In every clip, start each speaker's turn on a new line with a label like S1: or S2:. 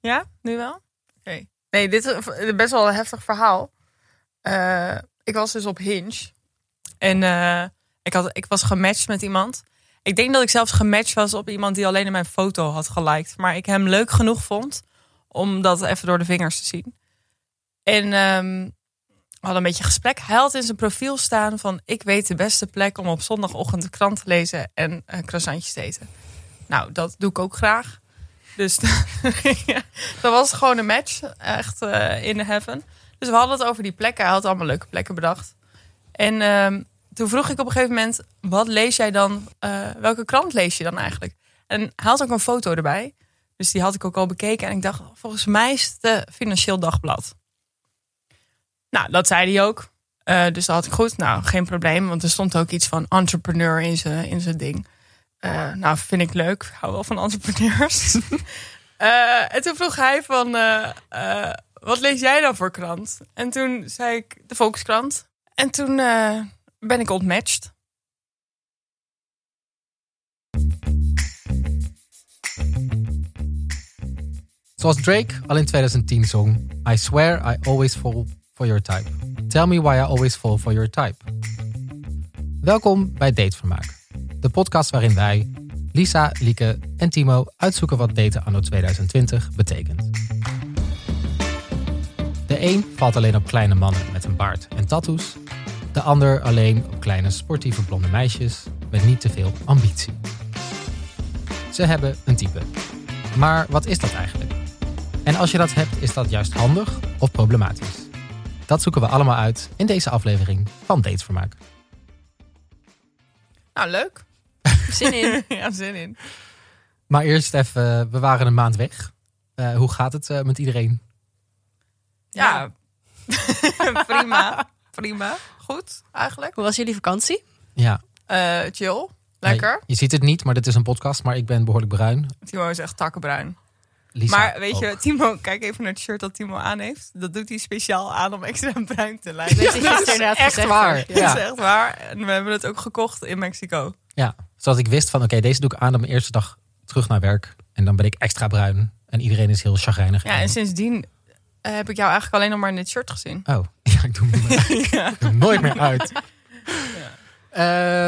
S1: Ja, nu wel? Oké. Nee, dit is een- best wel een heftig verhaal. Eh, ik was dus op Hinge. En eh, ik, had, ik was gematcht met iemand. Ik denk dat ik zelfs gematcht was op iemand die alleen in mijn foto had geliked. Maar ik hem leuk genoeg vond om dat even door de vingers te zien. En ehm, we hadden een beetje gesprek. Hij had in zijn profiel staan van... ik weet de beste plek om op zondagochtend de krant te lezen... en eh, croissantjes te eten. Nou, dat doe ik ook graag. Dus dat was gewoon een match. Echt eh, in heaven. Dus we hadden het over die plekken. Hij had allemaal leuke plekken bedacht. En ehm, toen vroeg ik op een gegeven moment... wat lees jij dan? eh, welke krant lees je dan eigenlijk? En hij had ook een foto erbij. Dus die had ik ook al bekeken. En ik dacht, volgens mij is het eh, Financieel Dagblad. Nou, dat zei hij ook. Eh, dus dat had ik goed. Nou, geen probleem. Want er stond ook iets van entrepreneur in zijn, in zijn ding. Eh, nou, vind ik leuk. Ik hou wel van entrepreneurs. Eh, en toen vroeg hij van, eh, eh, wat lees jij dan voor krant? En toen zei ik, de Volkskrant. En toen eh, ben ik ontmatched.
S2: Zoals Drake al in 2010 zong: I swear I always fall for your type. Tell me why I always fall for your type. Welkom bij Datevermaak, de podcast waarin wij, Lisa, Lieke en Timo uitzoeken wat daten anno 2020 betekent. De een valt alleen op kleine mannen met een baard en tattoos, de ander alleen op kleine sportieve blonde meisjes met niet te veel ambitie. Ze hebben een type. Maar wat is dat eigenlijk? En als je dat hebt, is dat juist handig of problematisch? Dat zoeken we allemaal uit in deze aflevering van Datevermaak.
S1: Nou, leuk.
S3: Zin in.
S1: ja, zin in.
S2: Maar eerst even, eh, we waren een maand weg. Eh, hoe gaat het eh, met iedereen?
S1: Ja. prima, prima. Goed, eigenlijk.
S3: Hoe was jullie vakantie?
S2: Ja,
S1: Eh, chill, lekker.
S2: Nee, je ziet het niet, maar dit is een podcast, maar ik ben behoorlijk bruin.
S1: Timo is echt takkenbruin.
S2: Lisa
S1: maar weet
S2: ook.
S1: je, Timo, kijk even naar het shirt dat Timo aan heeft. Dat doet hij speciaal aan om extra bruin te
S3: Ik
S1: lijken.
S3: weet dat je
S2: dat is
S3: gisteren inderdaad
S2: echt
S3: gezegd
S2: waar.
S3: hebt.
S1: Dat
S2: Ja.
S1: is echt waar. En we hebben het ook gekocht in Mexico.
S2: Ja, zodat ik wist van oké, deze doe ik aan op mijn eerste dag terug naar werk. En dan ben ik extra bruin en iedereen is heel chagrijnig.
S1: Ja, en sindsdien eh, heb ik jou eigenlijk alleen nog maar in dit shirt gezien.
S2: Oh, ja, ik doe hem niet meer uit. Ik doe hem nooit meer uit. Eh,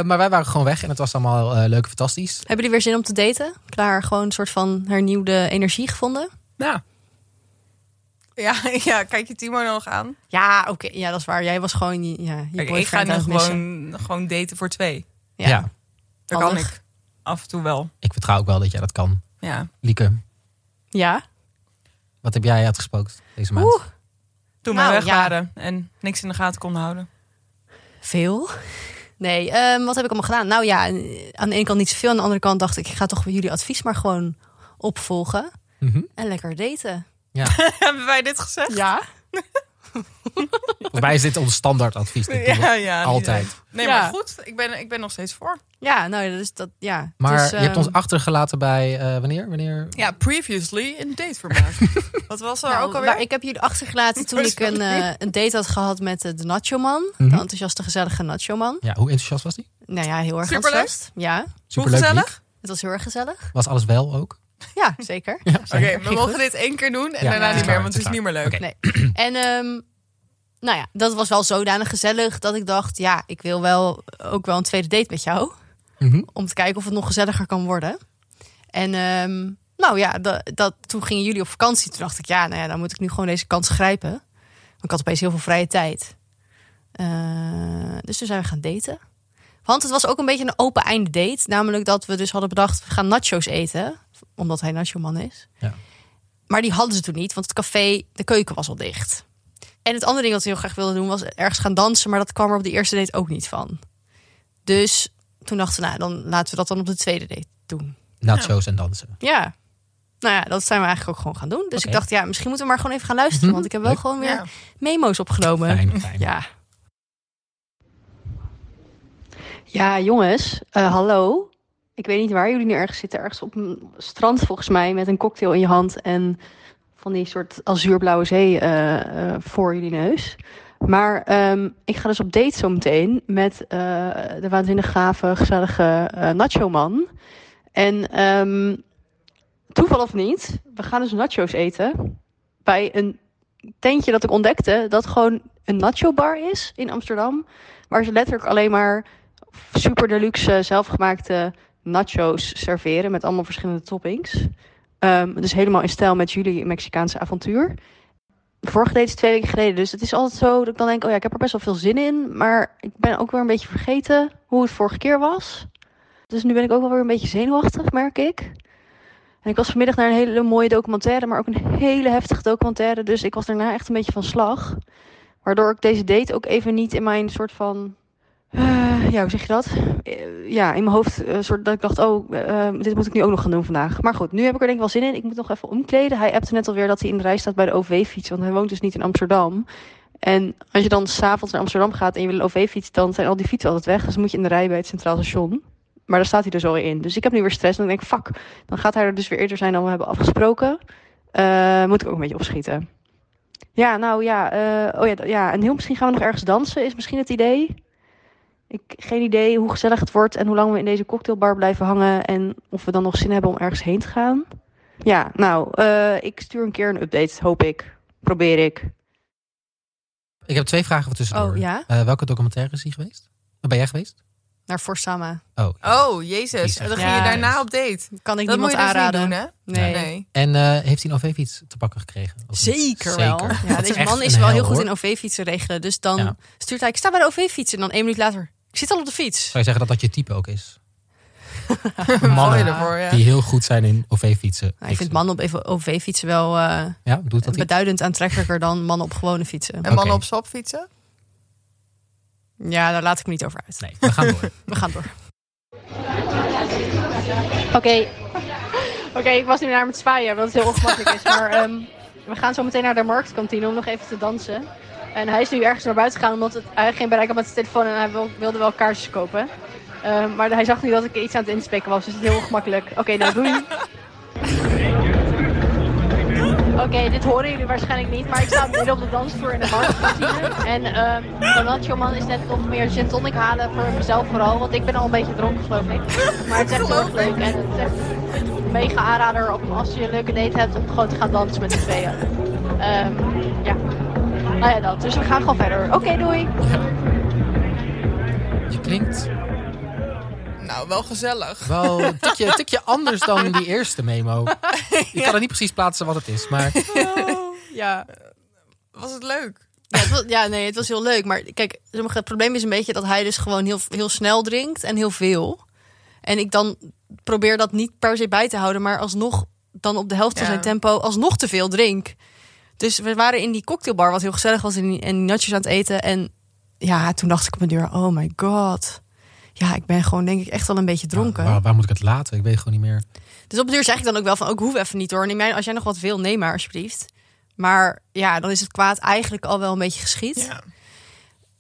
S2: maar wij waren gewoon weg en het was allemaal eh, leuk en fantastisch.
S3: Hebben jullie weer zin om te daten? Klaar, gewoon een soort van hernieuwde energie gevonden?
S1: Ja. Ja, ja, kijk je Timo nog aan.
S3: Ja, oké. Ja, dat is waar. Jij was gewoon je- ja, je
S1: Kijk, ik ga
S3: boyfriend
S1: nu
S3: aan het missen.
S1: gewoon, gewoon daten voor twee.
S2: Ja.
S1: Dat
S3: Handig.
S1: kan ik. Af en toe wel.
S2: ik vertrouw ook wel dat jij dat kan.
S1: Ja.
S2: Lieke,
S3: Ja?
S2: wat heb jij uitgesproken deze maand?
S3: Oeh,
S1: Toen
S3: Nou,
S1: we weg
S3: ja.
S1: waren en niks in de gaten konden houden.
S3: veel. Nee, ehm, wat heb ik allemaal gedaan? Nou ja, aan de ene kant niet zoveel. Aan de andere kant dacht ik, ik ga toch weer jullie advies maar gewoon opvolgen.
S2: Mhm.
S3: En lekker daten.
S1: Hebben wij dit gezegd?
S3: Ja?
S2: Volgens mij is dit ons standaardadvies. Dit doen we
S1: ja.
S2: altijd.
S1: Nee,
S3: Ja.
S1: maar goed. Ik ben, ik ben nog steeds voor.
S3: Ja, nou, dat is dat, ja.
S2: Maar
S3: Dus,
S2: je hebt
S3: ehm,
S2: ons achtergelaten bij eh, wanneer? wanneer?
S1: Ja, previously in datevermaak. Wat was er
S3: Nou,
S1: ook alweer?
S3: waar- ik heb jullie achtergelaten toen
S1: Oh,
S3: ik een,
S1: sorry.
S3: eh, een date had gehad met eh, de Nacho Man.
S2: Mhm.
S3: De enthousiaste, gezellige Nacho Man.
S2: Ja, hoe enthousiast was die?
S3: Nou ja, heel erg
S1: Superleuk.
S3: enthousiast. Ja,
S1: Hoe
S2: Superleuk.
S1: gezellig?
S2: Liek.
S3: het was heel erg gezellig.
S2: Was alles wel ook?
S3: Ja, zeker.
S1: Oké, we
S3: Ging
S1: mogen
S3: goed.
S1: dit één keer doen en
S2: Ja,
S1: daarna niet
S3: het is
S1: meer,
S2: klaar,
S1: want
S2: het
S1: het
S2: is
S1: is niet meer leuk.
S2: Oké.
S3: En ehm, nou ja, dat was wel zodanig gezellig dat ik dacht... ja, ik wil wel ook wel een tweede date met jou.
S2: Mhm.
S3: Om te kijken of het nog gezelliger kan worden. En ehm, nou ja, dat, dat, toen gingen jullie op vakantie. Toen dacht ik, ja, nou ja, dan moet ik nu gewoon deze kans grijpen. Want ik had opeens heel veel vrije tijd. Eh, dus toen zijn we gaan daten. Want het was ook een beetje een open einde date. Namelijk dat we dus hadden bedacht, we gaan nachos eten. Omdat hij nacho-man is.
S2: Ja.
S3: Maar die hadden ze toen niet, want het café, de keuken was al dicht. En het andere ding wat we heel graag wilden doen was ergens gaan dansen. Maar dat kwam er op de eerste date ook niet van. Dus toen dachten we, nou, dan laten we dat dan op de tweede date doen.
S2: Nachos en dansen.
S3: Ja. Nou ja, dat zijn we eigenlijk ook gewoon gaan doen. Dus
S2: Oké.
S3: ik dacht, ja, misschien moeten we maar gewoon even gaan luisteren.
S2: Mhm.
S3: Want ik heb wel
S2: Leuk.
S3: gewoon weer
S1: Ja.
S3: memo's opgenomen.
S2: Fijn, fijn.
S3: Ja. Ja, jongens, eh, hallo. Ik weet niet waar jullie nu ergens zitten. Ergens op een strand volgens mij met een cocktail in je hand en van die soort azuurblauwe zee eh, eh, voor jullie neus. Maar ehm, ik ga dus op date zometeen met eh, de waanzinnig gave, gezellige eh Nacho Man. En ehm, toeval of niet, we gaan dus nacho's eten. Bij een tentje dat ik ontdekte, dat gewoon een nacho bar is in Amsterdam. Waar ze letterlijk alleen maar super deluxe eh, zelfgemaakte nacho's serveren. Met allemaal verschillende toppings. Ehm, dus helemaal in stijl met jullie Mexicaanse avontuur. Vorige deed is twee weken geleden. Dus het is altijd zo dat ik dan denk, oh ja, ik heb er best wel veel zin in. Maar ik ben ook weer een beetje vergeten hoe het vorige keer was. Dus nu ben ik ook wel weer een beetje zenuwachtig, merk ik. En ik was vanmiddag naar een hele mooie documentaire, maar ook een hele heftige documentaire. Dus ik was daarna echt een beetje van slag. Waardoor ik deze date ook even niet in mijn soort van. eh, ja, hoe zeg je dat? Eh, ja, in mijn hoofd. eh, soort dat ik dacht, oh, eh, dit moet ik nu ook nog gaan doen vandaag. Maar goed, nu heb ik er denk ik wel zin in. Ik moet nog even omkleden. Hij appte net alweer dat hij in de rij staat bij de OV-fiets. Want hij woont dus niet in Amsterdam. En als je dan s'avonds naar Amsterdam gaat en je wil een OV-fiets, dan zijn al die fietsen altijd weg. Dus dan moet je in de rij bij het Centraal Station. Maar daar staat hij dus alweer in. Dus ik heb nu weer stress. En dan denk ik, fuck, dan gaat hij er dus weer eerder zijn dan we hebben afgesproken. Eh, moet ik ook een beetje opschieten. Ja, nou ja. eh, oh ja, d- ja, en heel misschien gaan we nog ergens dansen, is misschien het idee. Ik geen idee hoe gezellig het wordt en hoe lang we in deze cocktailbar blijven hangen. En of we dan nog zin hebben om ergens heen te gaan. Ja, nou, eh, ik stuur een keer een update, hoop ik. Probeer ik.
S2: Ik heb twee vragen voor tussendoor.
S3: Oh, ja?
S2: Eh, welke documentaire is die geweest? Waar ben jij geweest?
S4: Naar Forsama.
S2: Oh. ja.
S1: Oh, jezus. En dan ging je
S3: Ja.
S1: daarna op date.
S4: Kan ik
S1: dat moet
S4: niemand
S1: je dus
S4: aanraden.
S1: niet doen, hè?
S3: Nee.
S2: En eh, heeft hij een OV-fiets te pakken gekregen? Of niet?
S4: Zeker wel.
S2: Dat
S4: Ja, deze
S2: echt
S4: man is
S2: een
S4: wel
S2: hel,
S4: heel goed
S2: hoor.
S4: in OV-fietsen regelen. Dus dan
S2: Ja.
S4: stuurt hij, ik sta bij de OV-fietsen. En dan één minuut later, ik zit al op de fiets.
S2: Zou je zeggen dat dat je type ook is?
S1: Mooi
S2: Mannen
S1: ervoor, ja.
S2: die heel goed zijn in OV-fietsen.
S4: Nou, ik vind mannen op even OV-fietsen wel eh,
S2: Ja, doet dat iets?
S4: beduidend aantrekkelijker dan mannen op gewone fietsen.
S1: En mannen
S2: Oké.
S1: op sop fietsen?
S4: Ja, daar laat ik me niet over uit.
S2: Nee, we gaan door.
S4: We gaan door.
S3: Oké. Oké, ik was nu naar hem het zwaaien, want het heel ongemakkelijk is. Maar ehm, we gaan zo meteen naar de marktkantine om nog even te dansen. En hij is nu ergens naar buiten gegaan omdat het, hij geen bereik had met zijn telefoon en hij wil- wilde wel kaarsjes kopen. Ehm, maar hij zag nu dat ik iets aan het inspreken was, dus het is heel ongemakkelijk. Oké, nou doei. Oké, dit horen jullie waarschijnlijk niet, maar ik sta midden op de dansvloer in de marktkantine. En ehm de nacho man is net nog meer gin tonic halen voor mezelf vooral, want ik ben al een beetje dronken geloof ik. Maar het is echt heel erg leuk en het is echt een mega aanrader om, als je een leuke date hebt om gewoon te gaan dansen met z'n tweeën. Ehm, ja, nou ja dat. Dus we gaan gewoon verder. Oké, doei!
S2: Je klinkt
S1: Nou, wel gezellig.
S2: wel een tikje, een tikje anders dan die eerste memo. Ik kan het niet precies plaatsen wat het is, maar
S4: Ja.
S1: Was het leuk?
S4: Ja, het was- ja, nee, het was heel leuk. Maar kijk, sommige- het probleem is een beetje dat hij dus gewoon heel, heel snel drinkt en heel veel. En ik dan probeer dat niet per se bij te houden, maar alsnog dan op de helft van
S1: Ja.
S4: zijn tempo alsnog te veel drink. Dus we waren in die cocktailbar, wat heel gezellig was, en die, en die natjes aan het eten. En ja, toen dacht ik op mijn deur, oh my god. Ja, ik ben gewoon denk ik echt al een beetje dronken.
S2: Waar, waar moet ik het laten? Ik weet gewoon niet meer.
S4: Dus op de deur zeg ik dan ook wel van, ook hoef even niet hoor. Neem jij, als jij nog wat wil, neem maar alsjeblieft. Maar ja, dan is het kwaad eigenlijk al wel een beetje geschied.
S1: Ja.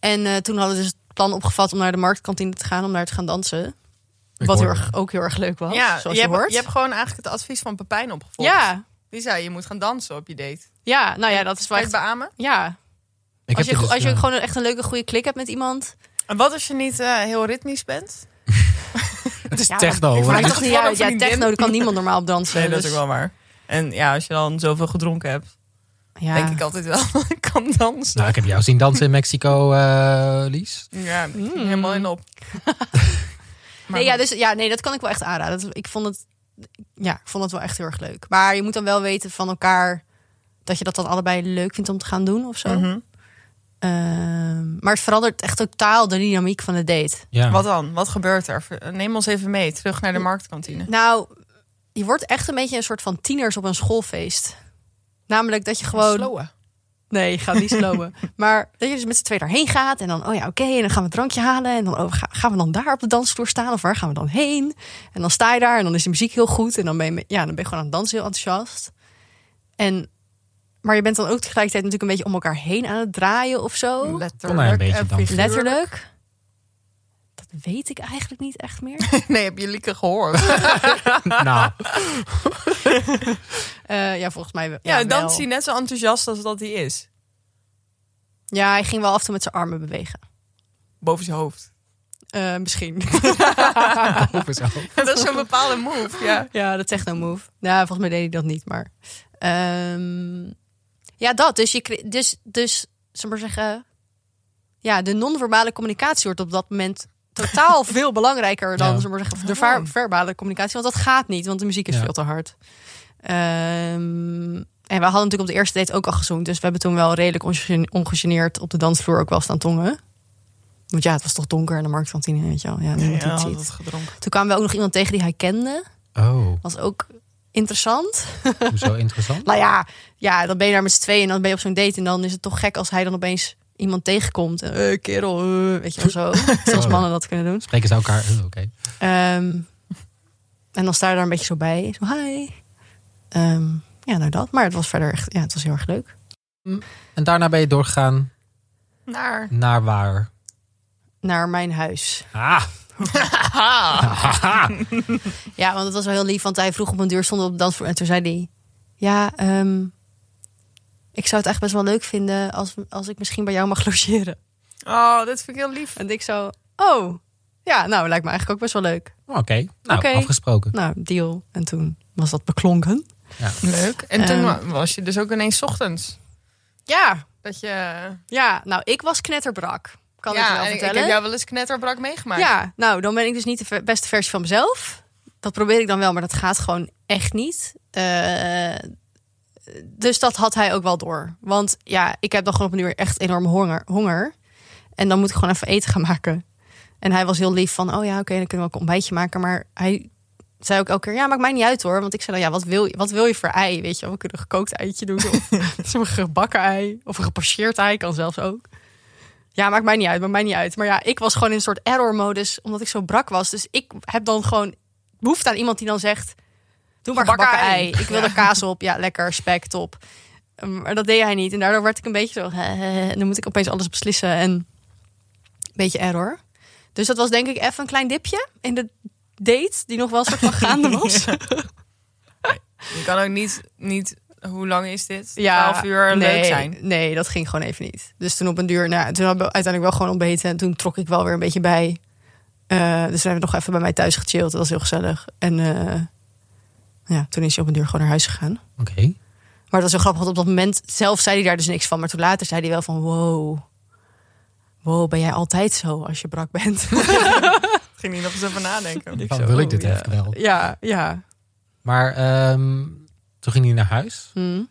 S4: En eh, toen hadden we dus het plan opgevat om naar de marktkantine te gaan, om daar te gaan dansen.
S2: Ik
S4: wat heel
S2: hoor
S4: erg, ook heel erg leuk was,
S1: ja,
S4: zoals
S1: je,
S4: je,
S1: hebt,
S4: hoort.
S1: je hebt gewoon eigenlijk het advies van Pepijn opgevolgd.
S4: ja,
S1: Die zei, je moet gaan dansen op je date.
S4: ja,
S3: Ah
S4: nou ja, dat is wel
S1: Kan je het
S4: echt...
S1: beamen?
S4: Ja, als
S2: Ik heb
S4: je,
S2: dit
S4: go-
S2: dus,
S4: als je
S2: eh,
S4: gewoon echt een leuke, goede klik hebt met iemand.
S1: En wat als je niet eh, heel ritmisch bent?
S2: Het is
S4: Ja,
S2: techno.
S1: ik
S2: hoor.
S1: vraag
S4: Maakt toch
S1: het toch
S4: niet
S1: voor
S4: uit.
S1: een
S4: Ja,
S1: vriendin?
S4: techno, daar kan niemand normaal op dansen.
S1: Nee, dat is
S4: dus-
S1: ook wel waar. En ja, als je dan zoveel gedronken hebt,
S4: Ja.
S1: denk ik altijd wel, ik kan dansen.
S2: Nou, ik heb jou zien dansen in Mexico, eh, Lies.
S1: Ja, helemaal in op. Maar
S4: nee, ja, dus, ja, nee, dat kan ik wel echt aanraden. Dat- ik, vond het, ja, ik vond het wel echt heel erg leuk. Maar je moet dan wel weten van elkaar dat je dat dan allebei leuk vindt om te gaan doen of zo.
S1: Mhm.
S4: Ehm, maar het verandert echt totaal de dynamiek van de date.
S2: Ja.
S1: Wat dan? Wat gebeurt er? Ver- Neem ons even mee, terug naar de marktkantine.
S4: Nou, je wordt echt een beetje een soort van tieners op een schoolfeest. Namelijk dat je gewoon...
S1: Slowen.
S4: Nee, je gaat niet slowen. maar dat je dus met z'n twee daarheen gaat. En dan, oh ja, oké, en dan gaan we een drankje halen. En dan oh, ga- gaan we dan daar op de dansvloer staan? Of waar gaan we dan heen? En dan sta je daar en dan is de muziek heel goed. En dan ben je, met- ja, dan ben je gewoon aan het dansen heel enthousiast. En, maar je bent dan ook tegelijkertijd natuurlijk een beetje om elkaar heen aan het draaien of zo.
S2: Kon hij een beetje
S1: en
S2: dansen?
S1: figuurlijk.
S4: Letterlijk. Dat weet ik eigenlijk niet echt meer.
S1: Nee, heb je Lieke gehoord?
S2: Nou,
S4: Eh, ja, volgens mij wel.
S1: Ja,
S4: wel.
S1: danst hij net zo enthousiast als dat hij is.
S4: Ja, hij ging wel af en toe met zijn armen bewegen.
S1: Boven zijn hoofd.
S3: Eh, misschien.
S2: Of is ook.
S1: dat is zo'n bepaalde move. Ja.
S3: ja, de techno move. Nou, volgens mij deed hij dat niet, maar. ehm, ja, dat. Dus, je, kri- dus, dus, zal maar zeggen. Ja, de non-verbale communicatie wordt op dat moment totaal veel belangrijker dan
S2: Ja.
S3: zal maar zeggen, de ver- verbale communicatie. Want dat gaat niet, want de muziek is
S2: Ja.
S3: veel te hard. Ehm, en we hadden natuurlijk op de eerste date ook al gezoend. Dus we hebben toen wel redelijk ongegen- ongegeneerd op de dansvloer ook wel staan tongen. Want ja, het was toch donker in de marktkantine, weet je wel. Ja, niemand die het ziet.
S1: gedronken.
S3: Toen kwamen we ook nog iemand tegen die hij kende.
S2: Oh,
S3: Was ook interessant.
S2: hoezo interessant?
S3: Nou ja, ja, dan ben je daar met z'n tweeën en dan ben je op zo'n date. En dan is het toch gek als hij dan opeens iemand tegenkomt. En, eh, kerel, eh, weet je wel zo. Zoals mannen dat kunnen doen.
S2: Spreken ze elkaar? eh, Oké.
S3: Ehm, en dan sta je daar een beetje zo bij. Zo, hi. Ehm, ja, nou dat. Maar het was verder echt, ja, het was heel erg leuk.
S2: En daarna ben je doorgegaan
S1: Naar.
S2: naar waar?
S3: Naar mijn huis.
S2: Ah, haha.
S3: Ja, want het was wel heel lief. Want hij vroeg op een deur, stond op de dansvloer. En toen zei hij... Ja, ehm, ik zou het echt best wel leuk vinden... Als, als ik misschien bij jou mag logeren.
S1: Oh, dat vind ik heel lief.
S3: En ik zo... Oh, ja, nou, lijkt me eigenlijk ook best wel leuk.
S2: Oké, nou
S3: Oké.
S2: afgesproken.
S3: Nou, deal. En toen was dat beklonken.
S1: Leuk. En toen
S3: Ehm.
S1: wa- was je dus ook ineens 's ochtends.
S3: Ja,
S1: Dat je...
S3: ja. Nou, ik was knetterbrak. Kan
S1: ja,
S3: ik je wel
S1: en
S3: vertellen.
S1: Ik heb jou wel eens knetterbrak meegemaakt.
S3: Ja, nou, dan ben ik dus niet de ver- beste versie van mezelf. Dat probeer ik dan wel, maar dat gaat gewoon echt niet. Eh, dus dat had hij ook wel door. Want ja, ik heb dan gewoon op een uur echt enorme honger, honger. En dan moet ik gewoon even eten gaan maken. En hij was heel lief van, oh ja, oké, dan kunnen we ook een ontbijtje maken. Maar hij zei ook elke keer, ja, maakt mij niet uit hoor. Want ik zei dan, ja, wat wil je, wat wil je voor ei? Weet je, wel, we kunnen een gekookt eitje doen. Of een gebakken ei. Of een gepasseerd ei, kan zelfs ook. Ja, maakt mij niet uit, maakt mij niet uit. Maar ja, ik was gewoon in een soort error-modus, omdat ik zo brak was. Dus ik heb dan gewoon behoefte aan iemand die dan zegt... Doe maar
S1: Gebakken
S3: gebakken ei.
S1: ei.
S3: Ik wil er kaas op. Ja, lekker, spek, top. Um, Maar dat deed hij niet. En daardoor werd ik een beetje zo... En dan moet ik opeens alles beslissen en... Een beetje error. Dus dat was denk ik even een klein dipje in de date... die nog wel een soort van gaande was.
S1: Je kan ook niet, niet... Hoe lang is dit?
S3: ja,
S1: 12 uur
S3: nee,
S1: leuk zijn.
S3: Nee, dat ging gewoon even niet. Dus toen op een duur, nou, toen hebben we uiteindelijk wel gewoon ontbeten. En toen trok ik wel weer een beetje bij. Eh, dus we hebben nog even bij mij thuis gechilled. Dat was heel gezellig. En eh, ja, toen is hij op een duur gewoon naar huis gegaan.
S2: Oké.
S3: Maar dat was heel grappig, want op dat moment zelf zei hij daar dus niks van. Maar toen later zei hij wel van, wow, wow, ben jij altijd zo als je brak bent?
S1: Ging niet nog eens over nadenken.
S2: Van, wil ik dit
S3: oh, ja.
S2: echt wel?
S3: ja, ja.
S2: Maar ehm, toen ging hij naar huis.
S3: Hm.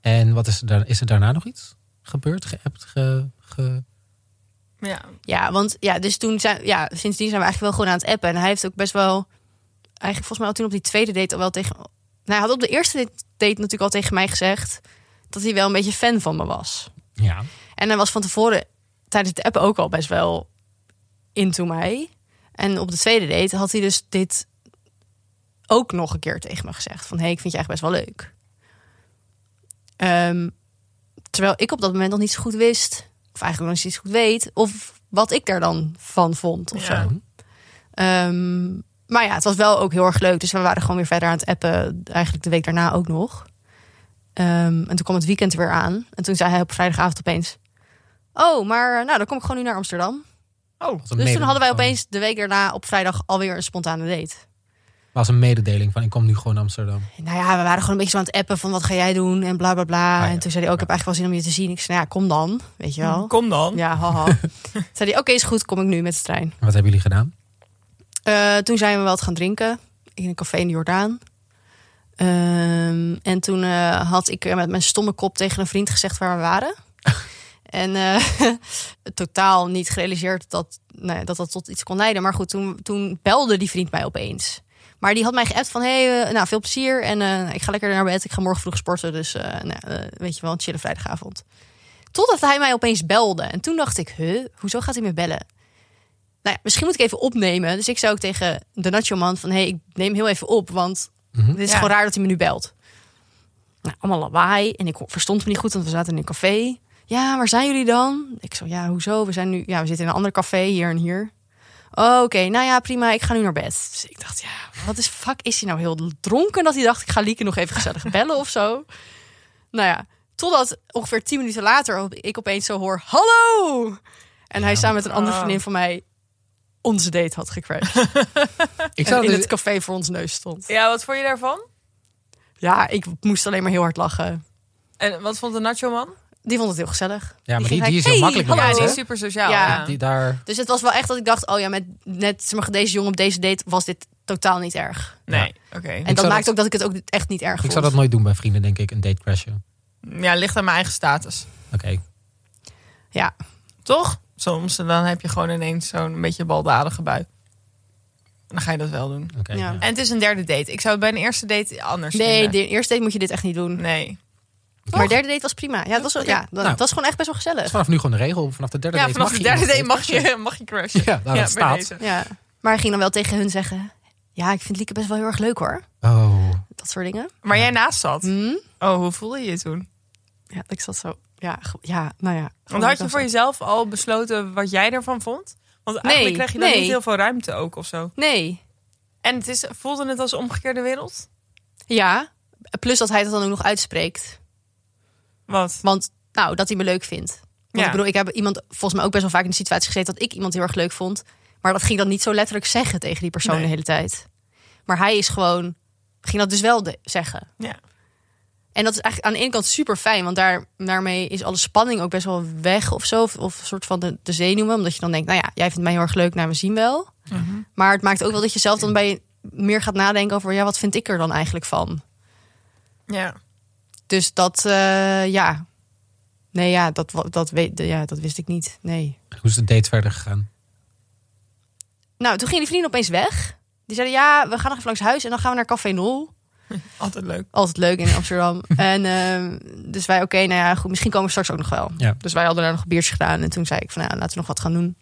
S2: En wat is er, daar, is er daarna nog iets gebeurd? Geappt? Ge, ge-
S1: Ja.
S3: Ja, want ja, dus toen zijn, ja, sindsdien zijn we eigenlijk wel gewoon aan het appen. En hij heeft ook best wel, eigenlijk volgens mij al toen op die tweede date al wel tegen. Nou, hij had op de eerste date natuurlijk al tegen mij gezegd dat hij wel een beetje fan van me was.
S2: ja.
S3: En hij was van tevoren tijdens het appen ook al best wel into mij. En op de tweede date had hij dus dit ook nog een keer tegen me gezegd. Van, hé, hey, ik vind je eigenlijk best wel leuk. Ehm, terwijl ik op dat moment nog niet zo goed wist... of eigenlijk nog niet zo goed weet... of wat ik daar dan van vond of
S1: Ja.
S3: zo. Ehm, maar ja, het was wel ook heel erg leuk. Dus we waren gewoon weer verder aan het appen. Eigenlijk de week daarna ook nog. Ehm, en toen kwam het weekend weer aan. En toen zei hij op vrijdagavond opeens... Oh, maar eh, nou, dan kom ik gewoon nu naar Amsterdam.
S2: Oh,
S3: Dus toen hadden wij opeens de week daarna op vrijdag alweer een spontane date.
S2: was een mededeling van ik kom nu gewoon naar Amsterdam.
S3: Nou ja, we waren gewoon een beetje zo aan het appen van wat ga jij doen en bla bla bla.
S2: Ah, ja.
S3: En toen zei hij ook, ik heb eigenlijk wel zin om je te zien. Ik zei, nou ja, kom dan, weet je wel.
S1: Kom dan.
S3: Ja, haha. Toen zei hij, oké, is goed, kom ik nu met de trein.
S2: En wat hebben jullie gedaan?
S3: Eh, toen zijn we wat gaan drinken in een café in de Jordaan. Ehm, en toen eh, had ik eh, met mijn stomme kop tegen een vriend gezegd waar we waren. en eh, totaal niet gerealiseerd dat, nou ja, dat dat tot iets kon leiden. Maar goed, toen, toen belde die vriend mij opeens. Maar die had mij geappt van, hey, eh, nou, veel plezier. En eh, ik ga lekker naar bed. Ik ga morgen vroeg sporten. Dus eh, nou, ja, eh, weet je wel, een chille vrijdagavond. Totdat hij mij opeens belde. En toen dacht ik, huh, hoezo gaat hij me bellen? nou ja, misschien moet ik even opnemen. Dus ik zou ook tegen de nacho man van... hé, hey, ik neem heel even op, want
S2: Mhm.
S3: dit is
S1: Ja.
S3: gewoon raar dat hij me nu belt. Nou, allemaal lawaai. En ik verstond me niet goed, want we zaten in een café. Ja, waar zijn jullie dan? Ik zo, ja, hoezo? We, zijn nu, ja, we zitten in een ander café, hier en hier. Oh, Oké, nou ja, prima, ik ga nu naar bed. Dus ik dacht, ja, wat is fuck? Is hij nou heel dronken dat hij dacht... ik ga Lieke nog even gezellig bellen of zo? Nou ja, totdat ongeveer tien minuten later... op- ik opeens zo hoor, hallo! En hij samen met een andere
S1: Ah.
S3: vriendin van mij onze date had gecrashed.
S2: Ik
S3: en
S2: zou
S3: in
S2: dus,
S3: het café voor ons neus stond.
S1: Ja, wat vond je daarvan?
S3: Ja, ik moest alleen maar heel hard lachen.
S1: En wat vond de nacho man?
S3: Die vond het heel gezellig.
S2: ja, maar
S3: ging
S2: die, die is
S3: gelijk,
S2: heel
S3: hey,
S2: makkelijk
S3: hallo.
S1: Ja,
S2: bereikt,
S1: die
S2: hè?
S1: is super sociaal.
S3: Ja.
S1: Ja.
S2: Die daar,
S3: Dus het was wel echt dat ik dacht, oh ja, met net zeg maar, deze jongen op deze date was dit totaal niet erg.
S1: Nee, oké.
S3: En dat
S2: zou
S3: maakt
S2: dat-
S3: ook dat ik het ook echt niet erg
S2: ik
S3: vond.
S2: zou dat nooit doen bij vrienden, denk ik, een date crashen.
S1: Ja, ligt aan mijn eigen status.
S2: Oké,
S3: Ja,
S1: Toch? Soms en dan heb je gewoon ineens zo'n beetje baldadige bui. En dan ga je dat wel doen.
S2: oké.
S3: Ja.
S2: ja.
S1: En het is een derde date. Ik zou het bij een eerste date anders
S3: nee,
S1: vinden.
S3: de eerste date moet je dit echt niet doen.
S1: Nee.
S3: Maar derde date was prima. Ja, dat was, wel- ja, dat,
S2: Nou.
S3: dat is gewoon echt best wel
S2: Dat is
S3: gezellig.
S2: vanaf nu gewoon de regel. Vanaf de derde
S1: Ja,
S2: date
S1: vanaf
S2: mag
S1: de
S2: je
S1: derde
S2: iemand
S1: date mag
S2: crashen.
S1: je, mag je crashen.
S2: Ja, nou, dat
S1: bij
S2: staat.
S1: deze.
S3: Ja. Maar ik ging dan wel tegen hun zeggen, ja, ik vind Lieke best wel heel erg leuk hoor.
S2: Oh,
S3: Dat soort dingen.
S1: Maar jij naast zat.
S3: Hm?
S1: Oh, hoe voelde je je toen?
S3: Ja, ik zat zo, ja, ge- ja nou ja.
S1: Want had je voor jezelf al besloten wat jij ervan vond? Want eigenlijk
S3: Nee,
S1: kreeg je dan
S3: nee.
S1: niet heel veel ruimte ook of zo.
S3: Nee,
S1: En het is, voelde het als een omgekeerde wereld?
S3: ja. Plus dat hij dat dan ook nog uitspreekt.
S1: Wat?
S3: Want, nou, dat hij me leuk vindt. Want
S1: Ja.
S3: ik bedoel, ik heb iemand volgens mij ook best wel vaak in de situatie gezeten dat ik iemand heel erg leuk vond. Maar dat ging dan niet zo letterlijk zeggen tegen die persoon
S1: Nee.
S3: de hele tijd. Maar hij is gewoon, ging dat dus wel de- zeggen.
S1: Ja.
S3: En dat is eigenlijk aan de ene kant super fijn, want daar, daarmee is alle spanning ook best wel weg of zo. Of, of een soort van de, de zenuwen, omdat je dan denkt, nou ja, jij vindt mij heel erg leuk, nou we zien wel.
S1: Mhm.
S3: Maar het maakt ook wel dat je zelf dan bij meer gaat nadenken over, ja, wat vind ik er dan eigenlijk van?
S1: Ja.
S3: Dus dat, eh, ja. Nee, ja dat, wa- dat, weet, ja, dat wist ik niet. Nee.
S2: hoe is de date verder gegaan?
S3: Nou, toen gingen die vrienden opeens weg. Die zeiden, ja, we gaan nog even langs huis en dan gaan we naar Café Nol.
S1: Altijd leuk.
S3: Altijd leuk in Amsterdam. en ehm, dus wij, oké, nou ja, goed, misschien komen we straks ook nog wel.
S2: Ja.
S3: Dus wij hadden daar nog een biertje gedaan. En toen zei ik van, nou, laten we nog wat gaan doen.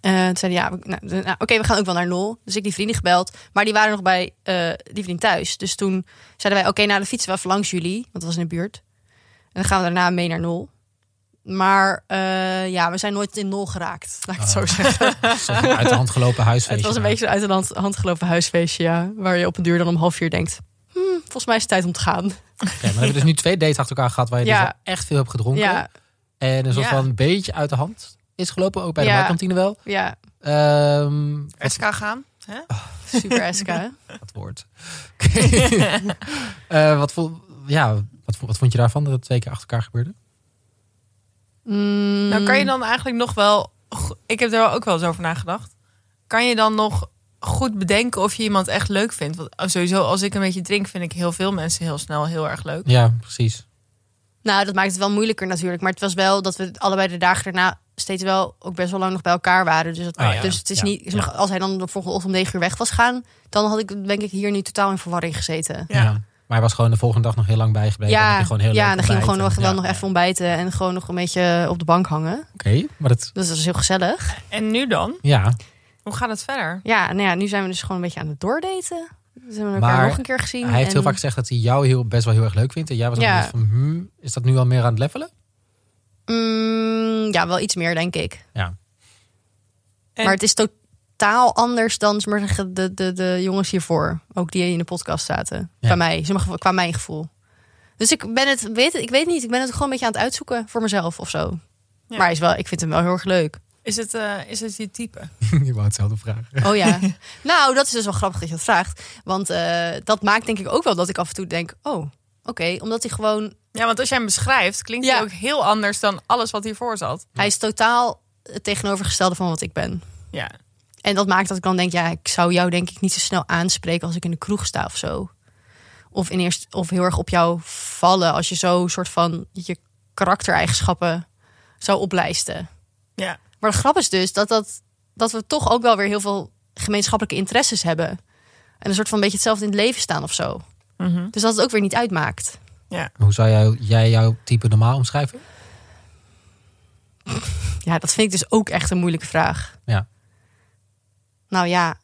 S3: En toen zeiden ja, we- nou, nou, oké, we gaan ook wel naar Nol. Dus ik die vrienden gebeld. Maar die waren nog bij eh, die vriend thuis. Dus toen zeiden wij, oké, nou, dan fietsen we even langs jullie. Want dat was in de buurt. En dan gaan we daarna mee naar Nol. Maar eh, ja, we zijn nooit in Nol geraakt, laat ik het zo zeggen.
S2: Zo'n uit de hand gelopen
S3: Het
S2: huisfeestje.
S3: was een
S2: daar.
S3: beetje een uit de hand, hand gelopen huisfeestje, ja. Waar je op een duur dan om half uur denkt... Hmm, volgens mij is het tijd om te gaan.
S2: Oké, maar we hebben dus nu twee dates achter elkaar gehad waar je
S3: Ja.
S2: dus wel echt veel hebt gedronken.
S3: Ja,
S2: En een soort
S1: Ja.
S2: van een beetje uit de hand is gelopen, ook bij de
S3: Ja.
S2: barkantine wel.
S3: ja,
S2: Ehm, wat
S1: SK gaan. Hè?
S3: super SK.
S2: dat woord. Oké. Eh, wat, vo- ja, wat, vo- wat vond je daarvan dat het twee keer achter elkaar gebeurde?
S3: Mm,
S1: Nou, kan je dan eigenlijk nog wel. go- Ik heb daar ook wel eens over nagedacht. Kan je dan nog goed bedenken of je iemand echt leuk vindt? Want oh, sowieso, als ik een beetje drink, vind ik heel veel mensen heel snel heel erg leuk.
S2: Ja, precies.
S3: Nou, dat maakt het wel moeilijker natuurlijk. Maar het was wel dat we allebei de dagen daarna steeds wel ook best wel lang nog bij elkaar waren. Dus, dat,
S2: Ah, ja.
S3: dus het is
S2: Ja,
S3: niet...
S2: ja.
S3: Als hij dan de volgende ochtend om negen uur weg was gaan... dan had ik denk ik hier nu totaal in verwarring gezeten.
S1: Ja.
S2: Maar hij was gewoon de volgende dag nog heel lang bijgebleven. en heb je gewoon heel
S3: ja
S2: leuk
S3: en dan gingen we gewoon nog,
S2: ontbijt en-
S3: wel
S2: ja,
S3: nog even ontbijten... en gewoon nog een beetje op de bank hangen.
S2: ja. Oké, maar dat...
S3: Dus dat was heel gezellig.
S1: En nu dan?
S2: Ja,
S1: Hoe gaat het verder?
S3: Ja, nou ja, nu zijn we dus gewoon een beetje aan het doordaten. Dus we hebben elkaar
S2: Maar
S3: nog een keer gezien.
S2: hij heeft
S3: en-
S2: heel vaak gezegd dat hij jou heel, best wel heel erg leuk vindt. En jij was ook
S3: Ja.
S2: een beetje van, hmm, is dat nu al meer aan het levelen?
S3: Mm, ja, wel iets meer, denk ik.
S2: Ja.
S1: En-
S3: Maar het is totaal anders dan zeg maar, zeggen, de, de, de jongens hiervoor. Ook die in de podcast zaten.
S2: Ja.
S3: Bij mij, zeg maar, qua mijn gevoel. Dus ik ben het, weet, ik weet niet, ik ben het gewoon een beetje aan het uitzoeken voor mezelf of zo.
S1: Ja.
S3: Maar hij is wel, ik vind hem wel heel erg leuk.
S1: Is het, eh, is het je type?
S2: je wou hetzelfde vragen.
S3: Oh ja. nou, dat is dus wel grappig dat je dat vraagt. Want eh, dat maakt denk ik ook wel dat ik af en toe denk, oh, oké. Omdat hij gewoon
S1: Ja, want als jij hem beschrijft, klinkt
S3: Ja.
S1: hij ook heel anders dan alles wat hiervoor zat.
S3: Hij is totaal het tegenovergestelde van wat ik ben.
S1: Ja.
S3: En dat maakt dat ik dan denk, ja, ik zou jou denk ik niet zo snel aanspreken als ik in de kroeg sta of zo. Of, in eerst, of heel erg op jou vallen als je zo soort van je karaktereigenschappen zou oplijsten.
S1: Ja.
S3: Maar de grap is dus dat, dat, dat we toch ook wel weer heel veel gemeenschappelijke interesses hebben. En een soort van beetje hetzelfde in het leven staan of zo.
S1: Mhm.
S3: Dus dat het ook weer niet uitmaakt.
S2: Hoe zou jou- jij jouw type normaal omschrijven?
S3: Ja, dat vind ik dus ook echt een moeilijke vraag.
S2: Ja.
S3: Nou ja,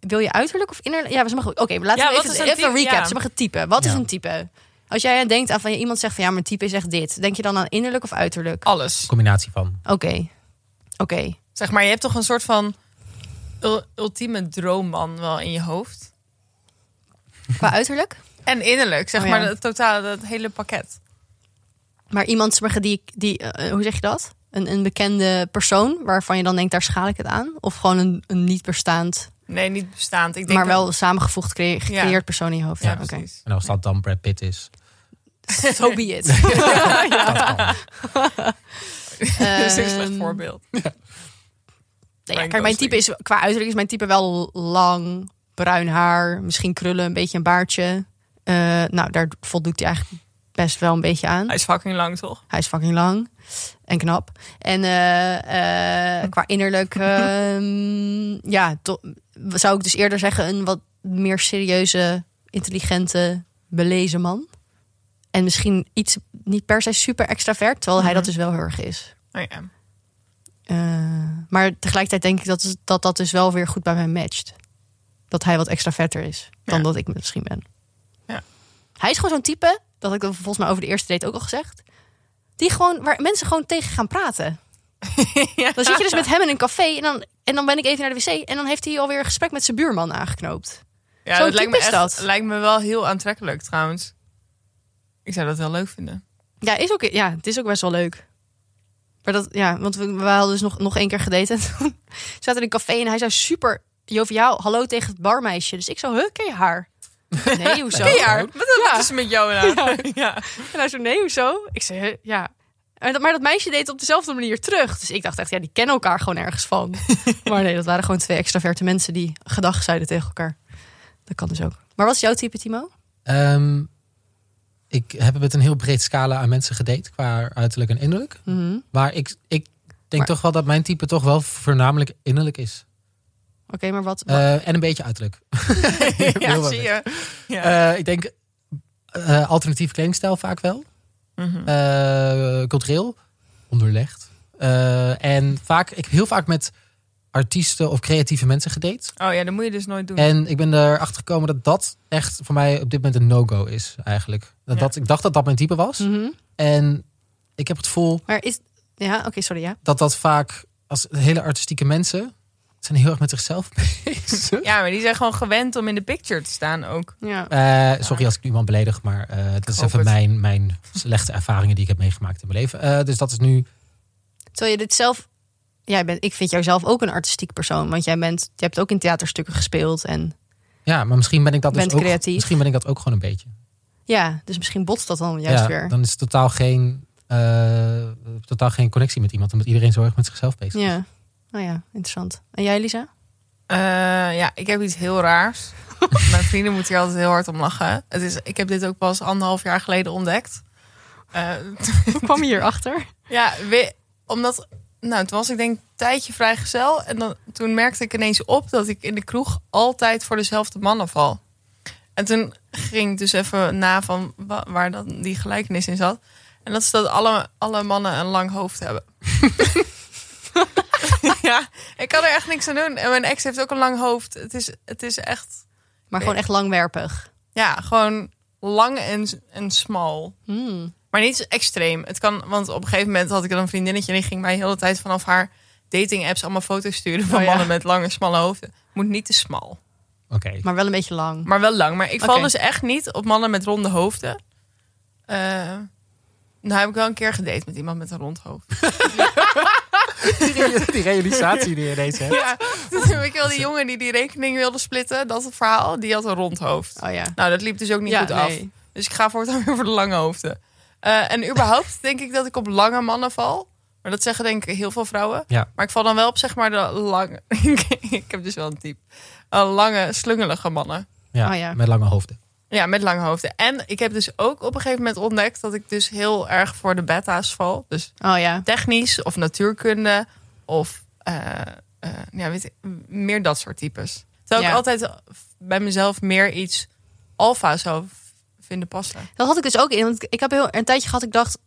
S3: wil je uiterlijk of innerlijk? Ja, ze mag Oké, maar laten
S1: Ja,
S3: we
S1: wat
S3: even,
S1: is
S3: even
S1: een
S3: een
S1: type?
S3: recap.
S1: Ja.
S3: Ze mag het type. Wat is
S2: Ja.
S3: een type? Als jij aan denkt aan van iemand zegt van ja, mijn type is echt dit. Denk je dan aan innerlijk of uiterlijk?
S1: Alles.
S2: Combinatie van.
S1: Oh.
S3: Oké. Oké.
S1: Zeg maar, je hebt toch een soort van ul- ultieme droomman wel in je hoofd?
S3: Qua uiterlijk?
S1: En innerlijk, zeg
S3: Oh ja.
S1: maar, het totale, dat hele pakket.
S3: Maar iemand zeg maar, die, die eh, hoe zeg je dat? Een, een bekende persoon waarvan je dan denkt, daar schaal ik het aan? Of gewoon een, een niet bestaand,
S1: Nee, niet bestaand. Ik denk
S3: maar wel
S1: dat-
S3: samengevoegd gecreë- gecreëerd persoon in je hoofd?
S1: Ja,
S3: oké.
S1: precies.
S2: En als dat dan Brad Pitt is.
S3: So be it.
S2: Dat kan.
S1: dat is een slecht
S3: Ehm,
S1: voorbeeld.
S3: Nee, ja,
S1: Ryan
S3: kijk, mijn
S1: Gosling.
S3: type is qua uiterlijk is mijn type wel lang, bruin haar, misschien krullen, een beetje een baardje. Eh, nou, daar voldoet hij eigenlijk best wel een beetje aan.
S1: Hij is fucking lang, toch?
S3: Hij is fucking lang en knap. En eh, eh, qua innerlijk, ehm, ja, to- zou ik dus eerder zeggen een wat meer serieuze, intelligente, belezen man. En misschien iets niet per se super extravert, terwijl hij dat dus wel heel erg is.
S1: Oh, ja.
S3: Eh, maar tegelijkertijd denk ik dat, dat dat dus wel weer goed bij mij matcht. Dat hij wat extra vetter is dan
S1: Ja.
S3: dat ik misschien ben.
S1: Ja.
S3: Hij is gewoon zo'n type, dat had ik dat volgens mij over de eerste date ook al gezegd. Die gewoon, waar mensen gewoon tegen gaan praten. Dan zit je dus met hem in een café en dan, en dan ben ik even naar de wc. En dan heeft hij alweer een gesprek met zijn buurman aangeknoopt.
S1: Ja,
S3: Zo'n
S1: dat lijkt me,
S3: type
S1: echt,
S3: is dat.
S1: lijkt me wel heel aantrekkelijk trouwens. Ik zou dat wel leuk vinden.
S3: Ja, is ook, ja het is ook best wel leuk. Maar dat, ja, want we, we hadden dus nog, nog één keer gedaten. Toen zaten we in een café en hij zei super joviaal hallo tegen het barmeisje. Dus ik zo, huh, ken je haar? Nee, hoezo?
S1: Ken je haar? Wat, wat is er met jou nou? Ja.
S3: En hij zo, nee, hoezo? Ik zei, "Huh, ja. En dat- Maar dat meisje deed het op dezelfde manier terug. Dus ik dacht echt, ja, die kennen elkaar gewoon ergens van. maar nee, dat waren gewoon twee extraverte mensen die gedag zeiden tegen elkaar. Dat kan dus ook. Maar wat is jouw type, Timo?
S2: Ehm, ik heb met een heel breed scala aan mensen gedate qua uiterlijk en innerlijk.
S3: Mhm.
S2: Maar ik, ik denk
S3: Maar-
S2: toch wel dat mijn type toch wel voornamelijk innerlijk is.
S3: Oké, maar wat?
S2: Eh, en een beetje uiterlijk. Heel wat
S1: zie je. Ja.
S2: Eh, ik denk eh, alternatief kledingstijl vaak wel.
S1: Mhm.
S2: Eh, cultureel onderlegd. Eh, en vaak, ik heb heel vaak met artiesten of creatieve mensen gedate.
S1: Oh ja, dat moet je dus nooit doen.
S2: En ik ben erachter gekomen dat dat echt voor mij op dit moment een no-go is eigenlijk. Dat,
S1: Ja.
S2: dat, ik dacht dat dat mijn type was.
S3: Mhm.
S2: En ik heb het gevoel
S3: Maar is... Ja, oké, sorry, ja.
S2: dat dat vaak als hele artistieke mensen zijn heel erg met zichzelf bezig.
S1: Ja, maar die zijn gewoon gewend om in de picture te staan ook.
S3: Ja.
S2: Eh, sorry als ik iemand beledig, maar eh dat is
S1: hoop
S2: even
S1: het.
S2: mijn, mijn slechte ervaringen die ik heb meegemaakt in mijn leven. Eh, dus dat is nu.
S3: Terwijl je dit zelf. Jij bent, ik vind jou zelf ook een artistiek persoon. Want jij bent, je hebt ook in theaterstukken gespeeld. En
S2: Ja, maar misschien ben ik dat dus
S3: Bent
S2: ook.
S3: creatief.
S2: Misschien ben ik dat ook gewoon een beetje.
S3: ja, dus misschien botst dat dan juist
S2: ja,
S3: weer.
S2: Dan is het totaal geen, eh, totaal geen connectie met iemand. Omdat iedereen zo erg met zichzelf bezig is.
S3: Ja. Nou ja, interessant. En jij, Lisa?
S1: Eh, ja, ik heb iets heel raars. Mijn vrienden moeten hier altijd heel hard om lachen. Het is, ik heb dit ook pas anderhalf jaar geleden ontdekt. Eh,
S3: Hoe kwam je hierachter?
S1: ja, we- omdat... Nou, toen was ik denk een tijdje vrijgezel. En dan, toen merkte ik ineens op dat ik in de kroeg altijd voor dezelfde mannen val. En toen ging ik dus even na van wa- waar dan die gelijkenis in zat. En dat is dat alle, alle mannen een lang hoofd hebben. ja, ik kan er echt niks aan doen. En mijn ex heeft ook een lang hoofd. Het is, het is echt...
S3: Maar gewoon echt langwerpig.
S1: Ja, gewoon lang en, en smal.
S3: Hmm.
S1: Maar niet zo extreem. Het kan, want op een gegeven moment had ik dan een vriendinnetje en die ging mij de hele tijd vanaf haar dating apps allemaal foto's sturen van
S3: Oh ja.
S1: mannen met lange, smalle hoofden. Moet niet te smal,
S2: Oké.
S3: Maar wel een beetje lang.
S1: maar wel lang. Maar ik val
S3: Oké.
S1: dus echt niet op mannen met ronde hoofden. Eh nou heb ik wel een keer gedate met iemand met een rond hoofd.
S2: Die realisatie die je ineens hebt.
S1: Ja, toen heb ik wel die jongen die die rekening wilde splitten, dat verhaal, die had een rond hoofd.
S3: Oh ja.
S1: Nou, dat liep dus ook niet
S3: Ja,
S1: goed af.
S3: nee.
S1: Dus ik ga voortaan weer voor de lange hoofden. Eh, en überhaupt denk ik dat ik op lange mannen val. Maar dat zeggen denk ik heel veel vrouwen.
S2: Ja.
S1: Maar ik val dan wel op zeg maar de lange... ik heb dus wel een type. Eh, lange, slungelige mannen.
S2: Ja,
S3: Oh ja.
S2: Met lange hoofden.
S1: Ja, met lange hoofden. En ik heb dus ook op een gegeven moment ontdekt... dat ik dus heel erg voor de beta's val. Dus
S3: Oh ja.
S1: technisch of natuurkunde of eh, eh, ja, weet ik, m- meer dat soort types. Terwijl ik
S3: Ja.
S1: altijd bij mezelf meer iets alfa zou v- vinden passen.
S3: Dat had ik dus ook in. Want ik heb heel, een tijdje gehad, ik dacht...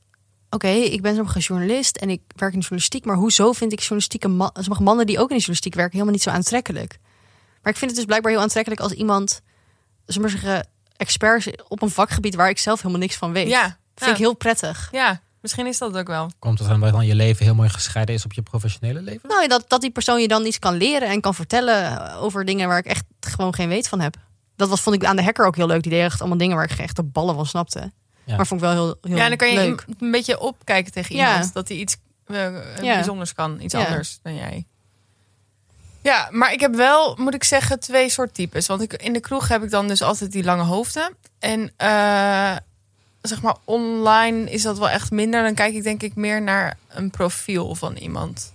S3: Oké, ik ben zo'n journalist en ik werk in de journalistiek. Maar hoezo vind ik journalistieke ma- sommige mannen die ook in de journalistiek werken... helemaal niet zo aantrekkelijk? Maar ik vind het dus blijkbaar heel aantrekkelijk als iemand... Zullen we maar zeggen, expert is op een vakgebied waar ik zelf helemaal niks van weet.
S1: Ja,
S3: Dat vind ik heel prettig.
S1: Ja, misschien is dat ook wel.
S2: Komt het aan dat dan je leven heel mooi gescheiden is op je professionele leven?
S3: Nou, dat, dat die persoon je dan iets kan leren en kan vertellen eh, over dingen waar ik echt gewoon geen weet van heb. Dat was, vond ik aan de hacker ook heel leuk. Die deed echt allemaal dingen waar ik echt de ballen van snapte. Maar vond ik wel heel, heel
S1: Ja, dan kan je
S3: leuk.
S1: een- een beetje opkijken tegen
S3: Ja.
S1: iemand. Dat hij iets eh, eh,
S3: Ja.
S1: bijzonders kan. Iets
S3: Ja.
S1: anders dan jij. Ja, maar ik heb wel, moet ik zeggen, twee soort types. Want ik, in de kroeg heb ik dan dus altijd die lange hoofden. En eh, zeg maar online is dat wel echt minder. Dan kijk ik denk ik meer naar een profiel van iemand.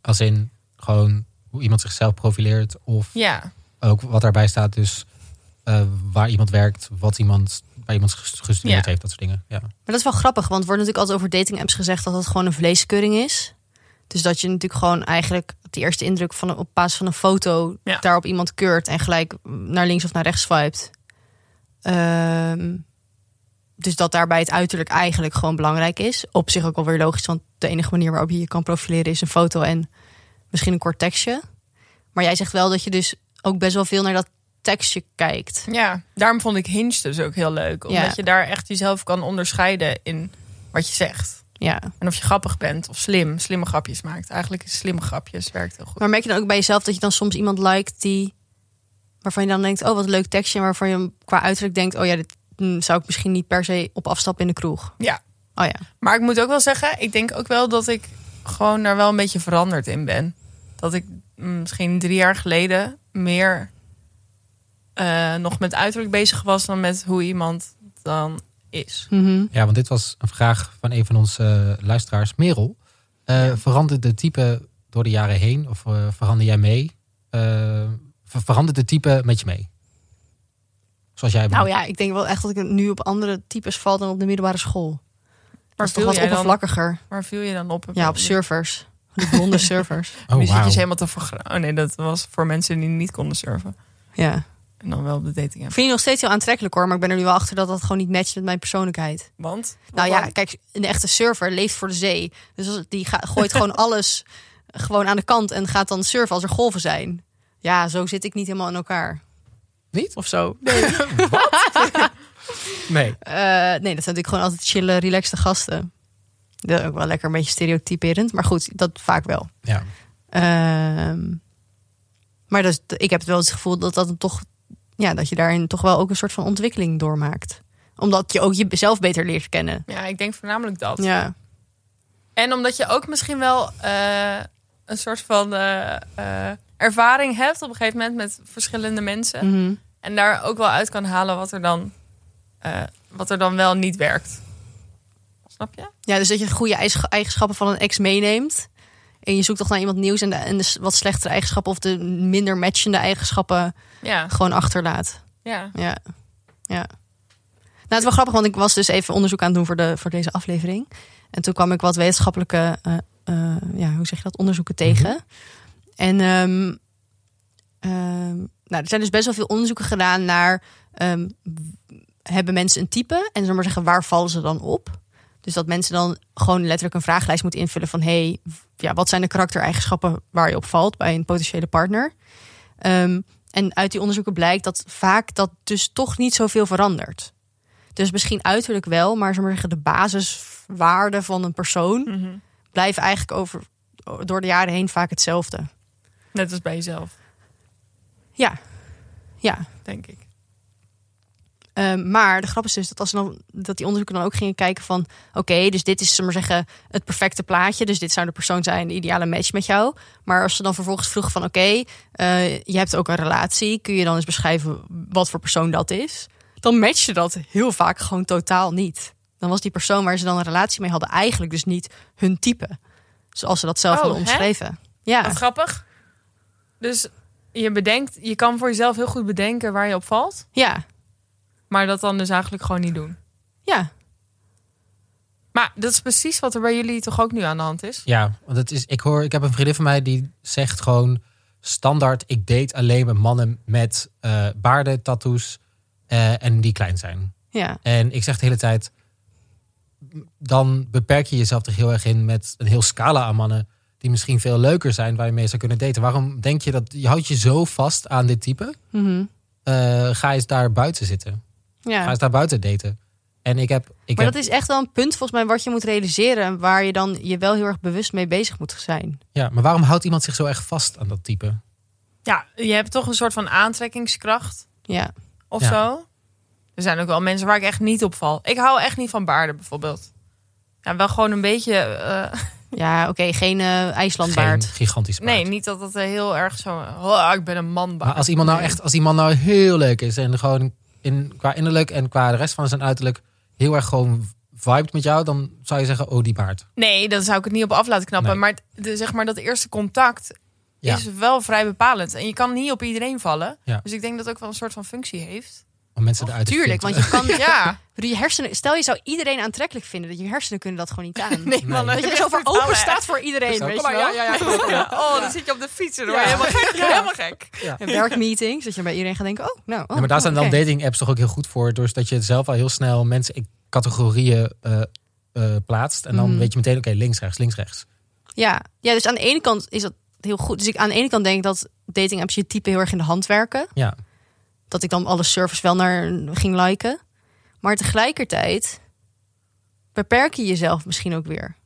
S2: Als in gewoon hoe iemand zichzelf profileert. Of
S1: Ja,
S2: ook wat daarbij staat. Dus eh, waar iemand werkt. Wat iemand, waar iemand ges- gestudeerd
S1: Ja.
S2: heeft. Dat soort dingen. Ja.
S3: Maar dat is wel grappig, want er wordt natuurlijk altijd over dating apps gezegd dat dat gewoon een vleeskeuring is. Dus dat je natuurlijk gewoon eigenlijk op de eerste indruk van een, op basis van een foto
S1: Ja.
S3: daarop iemand keurt en gelijk naar links of naar rechts swipet. Ehm, dus dat daarbij het uiterlijk eigenlijk gewoon belangrijk is. Op zich ook wel weer logisch, want de enige manier waarop je je kan profileren is een foto en misschien een kort tekstje. Maar jij zegt wel dat je dus ook best wel veel naar dat tekstje kijkt.
S1: ja. daarom vond ik Hinge dus ook heel leuk. Omdat
S3: Ja.
S1: je daar echt jezelf kan onderscheiden in wat je zegt.
S3: Ja.
S1: En of je grappig bent of slim, slimme grapjes maakt. Eigenlijk is slimme grapjes werkt heel goed.
S3: Maar merk je dan ook bij jezelf dat je dan soms iemand liked die. waarvan je dan denkt, oh wat een leuk tekstje. en waarvan je qua uiterlijk denkt, oh ja, dit hm, zou ik misschien niet per se op afstappen in de kroeg.
S1: Ja,
S3: Oh ja.
S1: Maar ik moet ook wel zeggen, ik denk ook wel dat ik gewoon daar wel een beetje veranderd in ben. Dat ik mm, misschien drie jaar geleden meer eh, nog met uiterlijk bezig was dan met hoe iemand dan is.
S3: Mhm.
S2: Ja, want dit was een vraag van een van onze eh, luisteraars, Merel. Eh, Verandert de type door de jaren heen? Of eh, verander jij mee? Eh, ver- verandert de type met je mee? Zoals jij
S3: Nou
S2: bent.
S3: ja, ik denk wel echt dat ik nu op andere types val dan op de middelbare school.
S1: Maar
S3: Maar toch
S1: viel,
S3: wat
S1: jij dan,
S3: oppervlakkiger.
S1: waar viel je dan op?
S3: Ja, op surfers. Die blonde surfers.
S1: nu
S2: Oh,
S1: zit je
S2: wauw.
S1: dus helemaal te vergra- Oh nee, dat was voor mensen die niet konden surfen.
S3: Ja.
S1: En dan wel op de dating app.
S3: Ik vind die nog steeds heel aantrekkelijk hoor, maar ik ben er nu wel achter dat dat gewoon niet matcht met mijn persoonlijkheid.
S1: Want?
S3: Nou ja, kijk, een echte surfer leeft voor de zee. Dus als- die ga- gooit gewoon alles gewoon aan de kant en gaat dan surfen als er golven zijn. Ja, zo zit ik niet helemaal in elkaar.
S2: Niet?
S3: Of zo.
S2: Nee.
S3: Eh, nee, dat zijn natuurlijk gewoon altijd chille, relaxte gasten. Dat is ook wel lekker een beetje stereotyperend. Maar goed, dat vaak wel.
S2: Ja.
S3: Ehm, maar dat, is- ik heb wel het gevoel dat dat een toch, ja, dat je daarin toch wel ook een soort van ontwikkeling doormaakt. Omdat je ook jezelf beter leert kennen.
S1: Ja, ik denk voornamelijk dat.
S3: Ja.
S1: En omdat je ook misschien wel eh, een soort van eh, eh, ervaring hebt op een gegeven moment met verschillende mensen.
S3: Mhm.
S1: En daar ook wel uit kan halen wat er dan, eh, wat er dan wel niet werkt. Snap je?
S3: Ja, dus dat je de goede eis- eigenschappen van een ex meeneemt. En je zoekt toch naar iemand nieuws en de, en de s- wat slechtere eigenschappen of de minder matchende eigenschappen
S1: Ja,
S3: gewoon achterlaat.
S1: ja.
S3: Ja. ja. Nou, het is wel grappig, want ik was dus even onderzoek aan het doen voor, de, voor deze aflevering. En toen kwam ik wat wetenschappelijke, eh, eh, ja, hoe zeg je dat, onderzoeken tegen. En ehm, ehm, nou, er zijn dus best wel veel onderzoeken gedaan naar... ehm, w- hebben mensen een type? En zullen maar zeggen, waar vallen ze dan op? Dus dat mensen dan gewoon letterlijk een vragenlijst moeten invullen van... hey, w- ja, wat zijn de karaktereigenschappen waar je op valt bij een potentiële partner? Ehm, en uit die onderzoeken blijkt dat vaak dat dus toch niet zoveel verandert. Dus misschien uiterlijk wel, maar zullen maar zeggen, de basiswaarden van een persoon...
S1: Mhm.
S3: blijven eigenlijk over, door de jaren heen vaak hetzelfde.
S1: Net als bij jezelf,
S3: Ja, ja.
S1: denk ik.
S3: Ehm, maar de grap is dus dat, als ze dan, dat die onderzoeken dan ook gingen kijken van... oké, dus dit is, zullen we maar zeggen, het perfecte plaatje. Dus dit zou de persoon zijn, de ideale match met jou. Maar als ze dan vervolgens vroegen van... oké, eh, je hebt ook een relatie. Kun je dan eens beschrijven wat voor persoon dat is? Dan matchte dat heel vaak gewoon totaal niet. Dan was die persoon waar ze dan een relatie mee hadden... eigenlijk dus niet hun type. Zoals ze dat zelf
S1: Oh,
S3: hadden
S1: hè?
S3: omschreven. Ja.
S1: Wat grappig. Dus je bedenkt, je kan voor jezelf heel goed bedenken waar je op valt,
S3: Ja,
S1: maar dat dan dus eigenlijk gewoon niet doen.
S3: ja.
S1: Maar dat is precies wat er bij jullie toch ook nu aan de hand is?
S2: Ja, want het is, ik, hoor, ik heb een vriendin van mij die zegt gewoon standaard... ik date alleen maar mannen met eh baarden, tattoos eh, en die klein zijn.
S3: Ja,
S2: En ik zeg de hele tijd, dan beperk je jezelf er heel erg in met een heel scala aan mannen die misschien veel leuker zijn, waar je mee zou kunnen daten. Waarom denk je dat, je houdt je zo vast aan dit type?
S3: Mhm.
S2: Eh, ga eens daar buiten zitten.
S3: ja.
S2: Ga eens daar buiten daten. En ik heb, ik
S3: Maar
S2: heb
S3: dat is echt wel een punt volgens mij wat je moet realiseren en waar je dan je wel heel erg bewust mee bezig moet zijn.
S2: ja, maar waarom houdt iemand zich zo erg vast aan dat type?
S1: Ja, je hebt toch een soort van aantrekkingskracht
S3: Ja.
S1: of
S2: Ja.
S1: zo. Er zijn ook wel mensen waar ik echt niet op val. Ik hou echt niet van baarden bijvoorbeeld. Ja, wel gewoon een beetje eh,
S3: Ja, oké, geen eh,
S2: Geen
S3: IJslandbaard.
S2: gigantisch baard.
S1: Nee, niet dat het eh, heel erg zo. Oh, ik ben een man.
S2: Maar als iemand nou echt, als iemand nou heel leuk is en gewoon in, qua innerlijk en qua de rest van zijn uiterlijk heel erg gewoon vibet met jou, dan zou je zeggen, oh die baard.
S1: Nee, dan zou ik het niet op af laten knappen.
S2: Nee.
S1: Maar, het- de, zeg maar dat eerste contact
S2: Ja.
S1: is wel vrij bepalend. En je kan niet op iedereen vallen.
S2: Ja.
S1: Dus ik denk dat het ook wel een soort van functie heeft.
S2: Om mensen eruit te
S3: Oh, Tuurlijk, want
S2: filteren.
S3: je kan. Ik
S1: Ja,
S3: bedoel, je hersenen, stel je zou iedereen aantrekkelijk vinden, dat je hersenen kunnen dat gewoon niet aan.
S1: nee, man.
S2: Nee.
S3: Dat je er zo voor open staat voor iedereen.
S2: Zo,
S3: Weet
S2: kom maar,
S3: je wel?
S2: ja, ja, ja, kom maar, kom maar.
S1: Oh, dan zit je op de fiets en dan
S3: Ja.
S1: word je helemaal gek. Helemaal gek.
S3: En werkmeetings, dat je bij iedereen gaat denken: oh, nou. Oh,
S2: Ja, maar daar
S3: oh,
S2: zijn dan
S3: oké.
S2: dating apps toch ook heel goed voor. Dus dat je het zelf al heel snel mensen in categorieën eh, eh, plaatst. En dan
S3: Mhm.
S2: weet je meteen, oké, links, rechts, links, rechts.
S3: Ja. ja, dus aan de ene kant is dat heel goed. Dus ik aan de ene kant denk dat dating apps je type heel erg in de hand werken.
S2: Ja.
S3: Dat ik dan alle service wel naar ging liken. Maar tegelijkertijd beperk je jezelf misschien ook weer.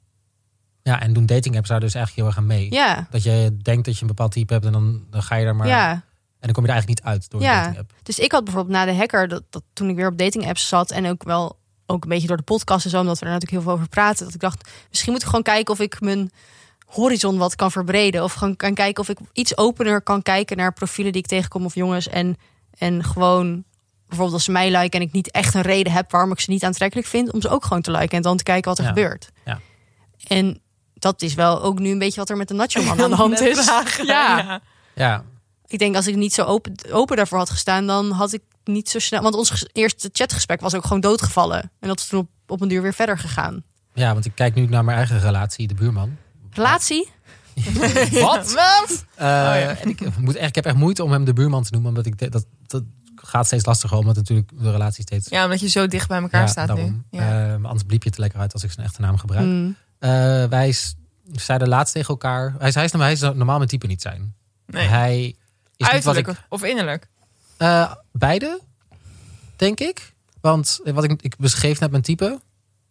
S2: ja, en doen dating apps daar dus eigenlijk heel erg aan mee.
S3: Ja,
S2: Dat je denkt dat je een bepaald type hebt en dan, dan ga je daar maar...
S3: ja.
S2: En dan kom je er eigenlijk niet uit door een
S3: Ja.
S2: dating app.
S3: Dus ik had bijvoorbeeld na de hacker, dat, dat toen ik weer op dating apps zat en ook wel ook een beetje door de podcast en zo, omdat we er natuurlijk heel veel over praten, dat ik dacht, misschien moet ik gewoon kijken of ik mijn horizon wat kan verbreden. Of gewoon kan kijken of ik iets opener kan kijken naar profielen die ik tegenkom of jongens. En, en gewoon bijvoorbeeld als ze mij liken en ik niet echt een reden heb waarom ik ze niet aantrekkelijk vind, om ze ook gewoon te liken en dan te kijken wat er
S2: Ja.
S3: gebeurt.
S2: Ja.
S3: En dat is wel ook nu een beetje wat er met de Nacho Man aan de hand
S1: Net
S3: is.
S1: vragen.
S3: Ja.
S1: ja.
S2: Ja,
S3: Ik denk als ik niet zo open, open daarvoor had gestaan, dan had ik niet zo snel. Want ons ges- eerste chatgesprek was ook gewoon doodgevallen. En dat is toen op, op een duur weer verder gegaan.
S2: ja, want ik kijk nu naar mijn eigen relatie, de buurman.
S3: Relatie?
S2: Wat? Eh,
S1: Oh, ja.
S2: en ik, moet echt, ik heb echt moeite om hem de buurman te noemen. Omdat ik de- dat, dat gaat steeds lastiger, omdat natuurlijk de relatie steeds...
S1: Ja, omdat je zo dicht bij elkaar staat nu.
S2: daarom.
S1: Ja.
S2: Eh, anders bliep je het er lekker uit als ik zijn echte naam gebruik.
S3: Mm.
S2: Eh, wij s- zeiden laatst tegen elkaar... Hij, is- hij, is, hij is normaal mijn type niet zijn.
S1: nee.
S2: Hij is niet wat
S1: Uiterlijk
S2: ik...
S1: of innerlijk.
S2: Eh, beide, denk ik. Want wat ik, ik beschreef net mijn type.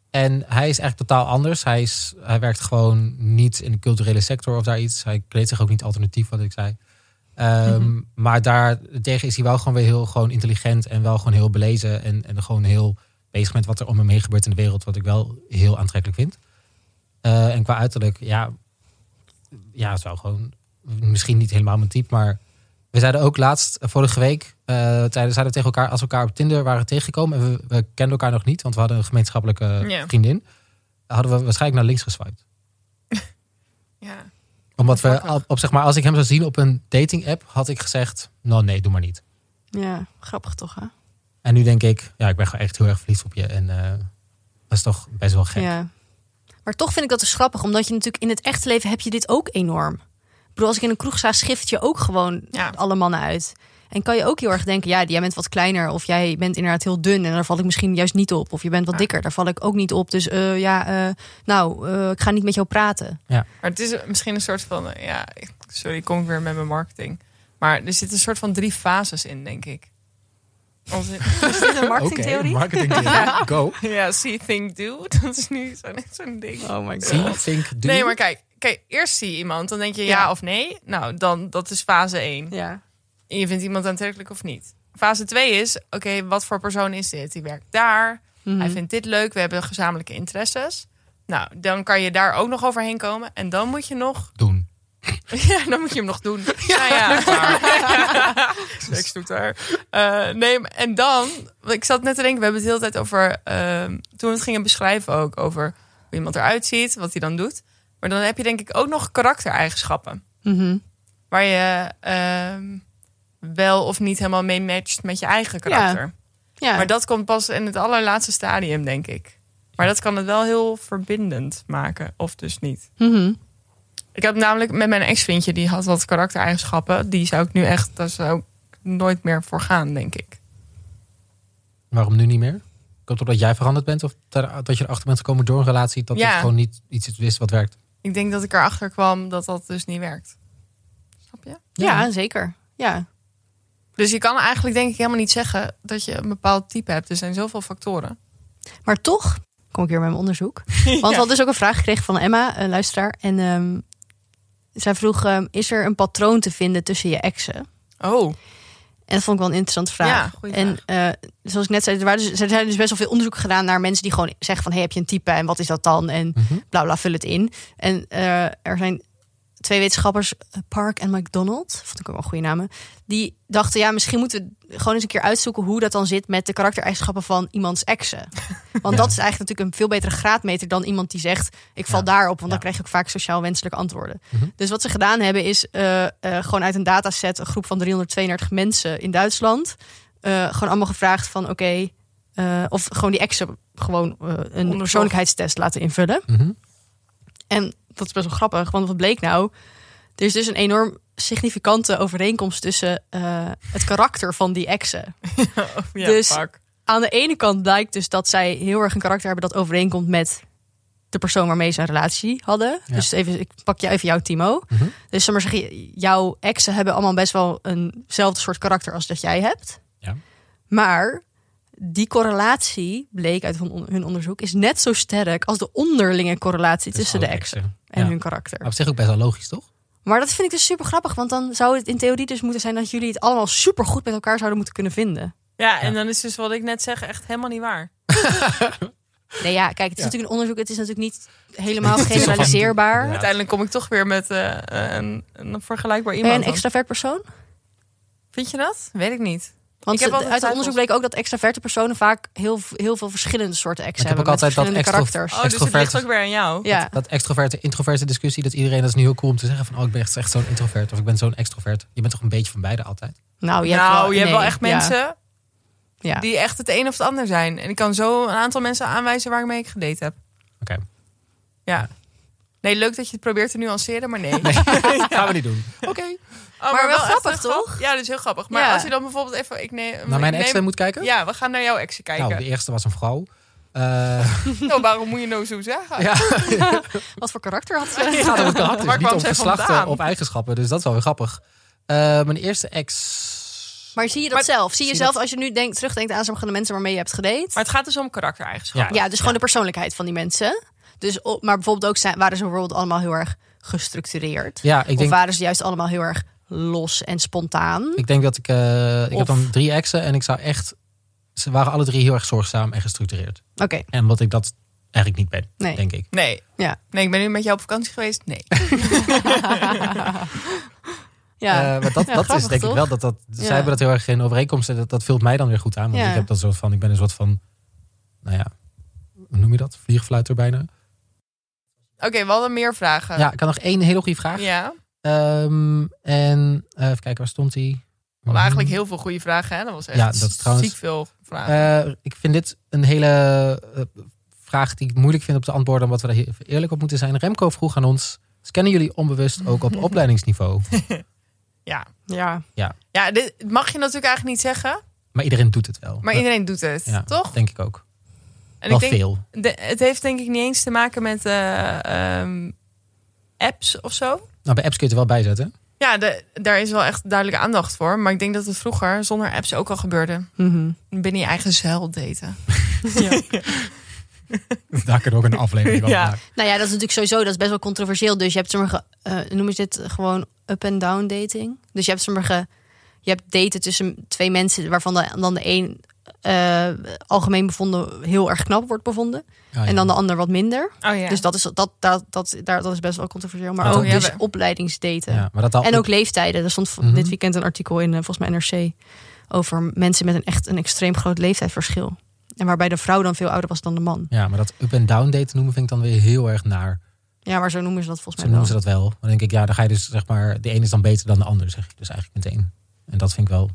S2: En hij is eigenlijk totaal anders. Hij, is, hij werkt gewoon niet in de culturele sector of daar iets. Hij kleedt zich ook niet alternatief, wat ik zei. Ehm,
S1: Mhm.
S2: Maar daartegen is hij wel gewoon weer heel gewoon intelligent en wel gewoon heel belezen. En, en gewoon heel bezig met wat er om hem heen gebeurt in de wereld. Wat ik wel heel aantrekkelijk vind. Eh, en qua uiterlijk, ja, ja, het is wel gewoon misschien niet helemaal mijn type, maar we zeiden ook laatst, eh, vorige week, eh, zeiden, zeiden we tegen elkaar, als we elkaar op Tinder waren tegengekomen en we, we kenden elkaar nog niet, want we hadden een gemeenschappelijke
S1: Ja.
S2: vriendin, hadden we waarschijnlijk naar links geswiped.
S1: Ja.
S2: Omdat we,
S1: Grappig.
S2: op, op, zeg maar, als ik hem zou zien op een dating app, had ik gezegd, nou nee, doe maar niet.
S3: Ja, grappig toch? Hè?
S2: En nu denk ik, ja, ik ben gewoon echt heel erg verliefd op je en eh, dat is toch best wel gek.
S3: Ja. Maar toch vind ik dat dus grappig, omdat je natuurlijk in het echte leven heb je dit ook enorm. Ik bedoel, als ik in een kroeg sta, schift je ook gewoon
S1: Ja.
S3: alle mannen uit. En kan je ook heel erg denken, ja, jij bent wat kleiner of jij bent inderdaad heel dun en daar val ik misschien juist niet op. Of je bent wat
S1: Ja.
S3: dikker, daar val ik ook niet op. Dus eh, ja, eh, nou, eh, ik ga niet met jou praten.
S1: Maar het is misschien een soort van... eh, Ja, ik- sorry, ik kom weer met mijn marketing. Maar er zit een soort van drie fases in, denk ik. Onze,
S3: Is dit een
S2: Oké, marketingtheorie. Go.
S1: ja, see, think, do. Dat is nu zo'n zo'n ding.
S3: Oh my
S2: See, think, do.
S1: Nee, maar kijk, kijk, eerst zie je iemand, dan denk je ja,
S3: Ja.
S1: of nee. Nou, dan dat is fase 1.
S3: Ja.
S1: En je vindt iemand aantrekkelijk of niet. Fase 2 is, oké, wat voor persoon is dit? Die werkt daar,
S3: Mhm.
S1: hij vindt dit leuk, we hebben gezamenlijke interesses. Nou, dan kan je daar ook nog overheen komen. En dan moet je nog...
S2: Doen.
S1: Ja, dan moet je hem nog doen. Ja, nou ja. maar- Ik stoet daar. Eh, nee, maar- en dan... want Ik zat net te denken, we hebben het de hele tijd over... ehm, toen we het gingen beschrijven ook, over hoe iemand eruit ziet, wat hij dan doet. Maar dan heb je denk ik ook nog karaktereigenschappen.
S3: Mhm.
S1: Waar je ehm, wel of niet helemaal mee matcht met je eigen karakter.
S3: Ja.
S1: Maar dat komt pas in het allerlaatste stadium, denk ik. Maar dat kan het wel heel verbindend maken, of dus niet.
S3: Mhm.
S1: Ik heb namelijk met mijn ex-vriendje, die had wat karaktereigenschappen. Die zou ik nu echt, daar zou ik nooit meer voor gaan, denk ik.
S2: Waarom nu niet meer? Komt het omdat jij veranderd bent of daar- dat je erachter bent gekomen door een relatie dat
S1: Ja.
S2: het gewoon niet iets is wist wat werkt?
S1: Ik denk dat ik erachter kwam dat dat dus niet werkt. Snap je?
S3: ja. zeker. Ja.
S1: Dus je kan eigenlijk denk ik helemaal niet zeggen dat je een bepaald type hebt. Er zijn zoveel factoren.
S3: Maar toch kom ik hier bij mijn onderzoek. Want we hadden dus ook een vraag gekregen van Emma, een luisteraar. En ehm, zij vroeg, ehm, is er een patroon te vinden tussen je exen?
S1: Oh,
S3: En dat vond ik wel een interessante vraag.
S1: Ja, goeie
S3: en eh, zoals ik net zei, er, waren dus, er zijn dus best wel veel onderzoek gedaan naar mensen die gewoon zeggen van hey, heb je een type en wat is dat dan? En
S2: Mhm.
S3: bla bla, vul het in. En eh, er zijn twee wetenschappers, eh, Park en McDonald, vond ik ook wel goede namen, die dachten, ja, misschien moeten we gewoon eens een keer uitzoeken hoe dat dan zit met de karaktereigenschappen van iemands exen. Want
S2: Ja.
S3: dat is eigenlijk natuurlijk een veel betere graadmeter dan iemand die zegt, ik val
S2: Ja.
S3: daarop, want
S2: Ja.
S3: dan krijg ik vaak sociaal wenselijke antwoorden.
S2: Mhm.
S3: Dus wat ze gedaan hebben is eh, eh, gewoon uit een dataset, een groep van 332 mensen in Duitsland, eh, gewoon allemaal gevraagd van, oké, eh, of gewoon die exen gewoon eh, een persoonlijkheidstest laten invullen.
S2: Mhm.
S3: En dat is best wel grappig, want wat bleek nou? Er is dus een enorm significante overeenkomst tussen eh, het karakter van die exen.
S1: ja,
S3: Dus-
S1: fuck.
S3: Aan de ene kant blijkt dus dat zij heel erg een karakter hebben dat overeenkomt met de persoon waarmee ze een relatie hadden.
S2: Ja.
S3: Dus even, ik pak jou, even jouw Timo.
S2: Mhm.
S3: Dus zeg maar zeggen, jouw exen hebben allemaal best wel eenzelfde soort karakter als dat jij hebt.
S2: Ja.
S3: Maar die correlatie, bleek uit hun hun onderzoek, is net zo sterk als de onderlinge correlatie
S2: Dus
S3: tussen de
S2: alle
S3: exen en
S2: Ja.
S3: hun karakter.
S2: Maar op zich ook best wel logisch, toch?
S3: Maar dat vind ik dus super grappig, want dan zou het in theorie dus moeten zijn dat jullie het allemaal super goed met elkaar zouden moeten kunnen vinden.
S1: Ja,
S2: Ja.
S1: en dan is dus wat ik net zeg echt helemaal niet waar.
S3: Nee, ja, kijk, het is
S2: Ja.
S3: natuurlijk een onderzoek, het is natuurlijk niet helemaal
S2: Het is wel van-
S3: generaliseerbaar.
S2: Ja.
S3: Ben
S1: Uiteindelijk kom ik toch weer met eh, een, een vergelijkbaar
S3: je
S1: iemand.
S3: een
S1: dan.
S3: extravert persoon?
S1: Vind je dat? Weet ik niet.
S3: Want
S1: Ik heb
S3: het-
S1: altijd
S3: uit
S1: twijfels.
S3: het onderzoek bleek ook dat extraverte personen vaak heel, heel veel verschillende soorten
S2: Ik
S3: exen
S2: heb
S3: hebben.
S2: ook altijd dat
S3: met
S2: extra, Oh.
S3: verschillende karakters.
S1: Oh, dus het ligt
S2: extroverte-
S1: ook weer aan jou.
S3: ja.
S2: dat extroverte, introverte discussie. Dat iedereen, dat is nu heel cool om te zeggen van... oh, ik ben echt, echt zo'n introvert of ik ben zo'n extrovert. Je bent toch een beetje van beide altijd?
S3: Nou, je hebt
S1: nou,
S3: wel,
S1: je hebt wel
S3: nee,
S1: echt
S3: ja.
S1: mensen
S3: Ja.
S1: die echt het een of het ander zijn. En ik kan zo een aantal mensen aanwijzen waarmee ik gedate heb.
S2: Oké,
S1: Ja. Nee, leuk dat je het probeert te nuanceren, maar nee.
S2: gaan we niet doen. Oké.
S1: Oh, maar,
S3: wel
S1: echt
S3: grappig,
S1: heel
S3: toch?
S1: grappig. Ja, dus heel grappig. Maar
S3: Ja.
S1: als je dan bijvoorbeeld even... Ik neem,
S2: Naar Nou, mijn
S1: ik neem-
S2: exen moet kijken?
S1: Ja, we gaan naar jouw exen kijken.
S2: Nou, de
S1: Nou,
S2: eerste was een vrouw. Eh
S1: waarom moet je nou zo zeggen?
S2: ja,
S3: Wat voor karakter had ze?
S2: het gaat om het karakter, dus
S1: Waar
S2: niet
S1: kwam
S2: om
S1: zij
S2: geslachten
S1: vandaan?
S2: of eigenschappen. Dus dat is wel weer grappig. Eh, mijn eerste ex...
S3: Maar zie je dat
S1: Maar-
S3: zelf? Zie je
S2: zie
S3: zelf als je nu denkt, terugdenkt aan sommige mensen waarmee je hebt gedate?
S1: Maar het gaat dus om karaktereigenschappen.
S3: Ja, dus gewoon de persoonlijkheid van die mensen. Dus, op- maar bijvoorbeeld ook zijn, waren ze bijvoorbeeld allemaal heel erg gestructureerd.
S2: Ja, ik
S3: Of
S2: denk,
S3: waren ze juist allemaal heel erg los en spontaan.
S2: ik denk dat ik... eh, ik heb
S3: Of-
S2: dan drie exen en ik zou echt... Ze waren alle drie heel erg zorgzaam en gestructureerd.
S3: Oké,
S2: En wat ik dat eigenlijk niet ben,
S3: Nee.
S2: denk ik.
S1: Nee.
S3: Ja.
S1: Nee, ik ben nu met jou op vakantie geweest. Nee.
S3: ja.
S2: Eh, maar dat,
S3: Ja,
S2: dat
S3: grappig,
S2: is denk
S3: toch?
S2: ik wel dat dat.
S3: Ja.
S2: Zij hebben dat heel erg in overeenkomst. En dat, dat vult mij dan weer goed aan. Want
S3: Ja.
S2: ik heb dat soort van. Ik ben een soort van. Nou ja, hoe noem je dat? Vliegfluiter bijna.
S1: Oké, we hadden meer vragen.
S2: Ja, ik had nog één hele goede vraag.
S1: Ja.
S2: Ehm, en eh, even kijken, waar stond Hmm. die?
S1: We hadden eigenlijk heel veel goede vragen. Hè? Dat was echt
S2: Ja, dat is trouwens-
S1: ziek veel vragen.
S2: Eh, ik vind dit een hele eh, vraag die ik moeilijk vind om te antwoorden, omdat we daar heel eerlijk op moeten zijn. Remco vroeg aan ons: scannen jullie onbewust ook op opleidingsniveau?
S1: ja.
S3: ja.
S1: Ja, dit mag je natuurlijk eigenlijk niet zeggen.
S2: Maar iedereen doet het wel.
S1: Maar
S2: Dat-
S1: iedereen doet het,
S2: ja,
S1: toch?
S2: Denk ik ook.
S1: En
S2: wel
S1: ik denk,
S2: veel.
S1: de- het heeft denk ik niet eens te maken met eh, ehm, apps of zo.
S2: Nou, bij apps kun je het er wel bij zetten.
S1: Ja, de- daar is wel echt duidelijke aandacht voor. Maar ik denk dat het vroeger zonder apps ook al gebeurde.
S3: Mhm.
S1: Binnen je eigen zuil daten.
S2: Daar kunnen we ook een aflevering over
S1: Ja.
S2: maken.
S3: Nou ja, dat is natuurlijk sowieso dat is best wel controversieel. Dus je hebt sommige, eh noemen ze dit gewoon up-and-down dating. Dus je hebt sommige, je hebt daten tussen twee mensen waarvan de- dan de een eh, algemeen bevonden heel erg knap wordt bevonden.
S2: Ah, ja.
S3: En dan de ander wat minder.
S1: Oh ja.
S3: Dus dat is, dat, dat, dat, daar, dat is best wel controversieel. Maar
S2: Dat
S3: ook
S1: ook-
S3: dus
S1: ja, we-
S3: opleidingsdaten.
S2: Ja, maar dat al,
S3: En ook leeftijden. Er stond v-
S2: Oh, Mhm.
S3: dit weekend een artikel in eh, volgens mij NRC over mensen met een echt een extreem groot leeftijdsverschil. En waarbij de vrouw dan veel ouder was dan de man.
S2: ja, maar dat up en down daten noemen vind ik dan weer heel erg naar.
S3: Ja, maar zo noemen ze dat volgens
S2: Zo
S3: mij wel.
S2: noemen ze dat wel. Maar dan denk ik, ja, dan ga je dus zeg maar, de een is dan beter dan de ander, zeg je dus eigenlijk meteen. En dat vind ik wel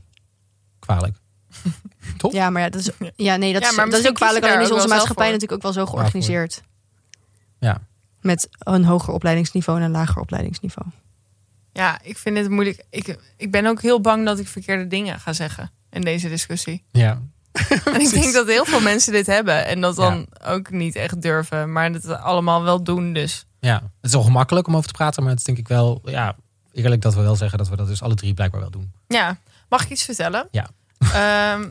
S2: kwalijk. Toch?
S3: Ja, maar ja, dat is, ja, nee, dat
S1: Ja,
S3: is,
S1: maar misschien
S3: dat is ook kwalijk.
S1: kiezen daar
S3: Alleen is
S1: ook
S3: onze
S1: wel zelf
S3: maatschappij
S1: voor.
S3: natuurlijk ook wel zo georganiseerd.
S2: Ja.
S3: Met een hoger opleidingsniveau en een lager opleidingsniveau.
S1: Ja, ik vind het moeilijk. Ik, ik ben ook heel bang dat ik verkeerde dingen ga zeggen in deze discussie.
S2: Ja.
S1: En ik denk dat heel veel mensen dit hebben en dat dan ook niet echt durven, maar dat allemaal wel doen. Dus
S2: ja. Het is wel gemakkelijk om over te praten, maar het is denk ik wel, ja, eerlijk dat we wel zeggen dat we dat dus alle drie blijkbaar wel doen.
S1: ja, mag ik iets vertellen?
S2: Ja.
S1: Ehm,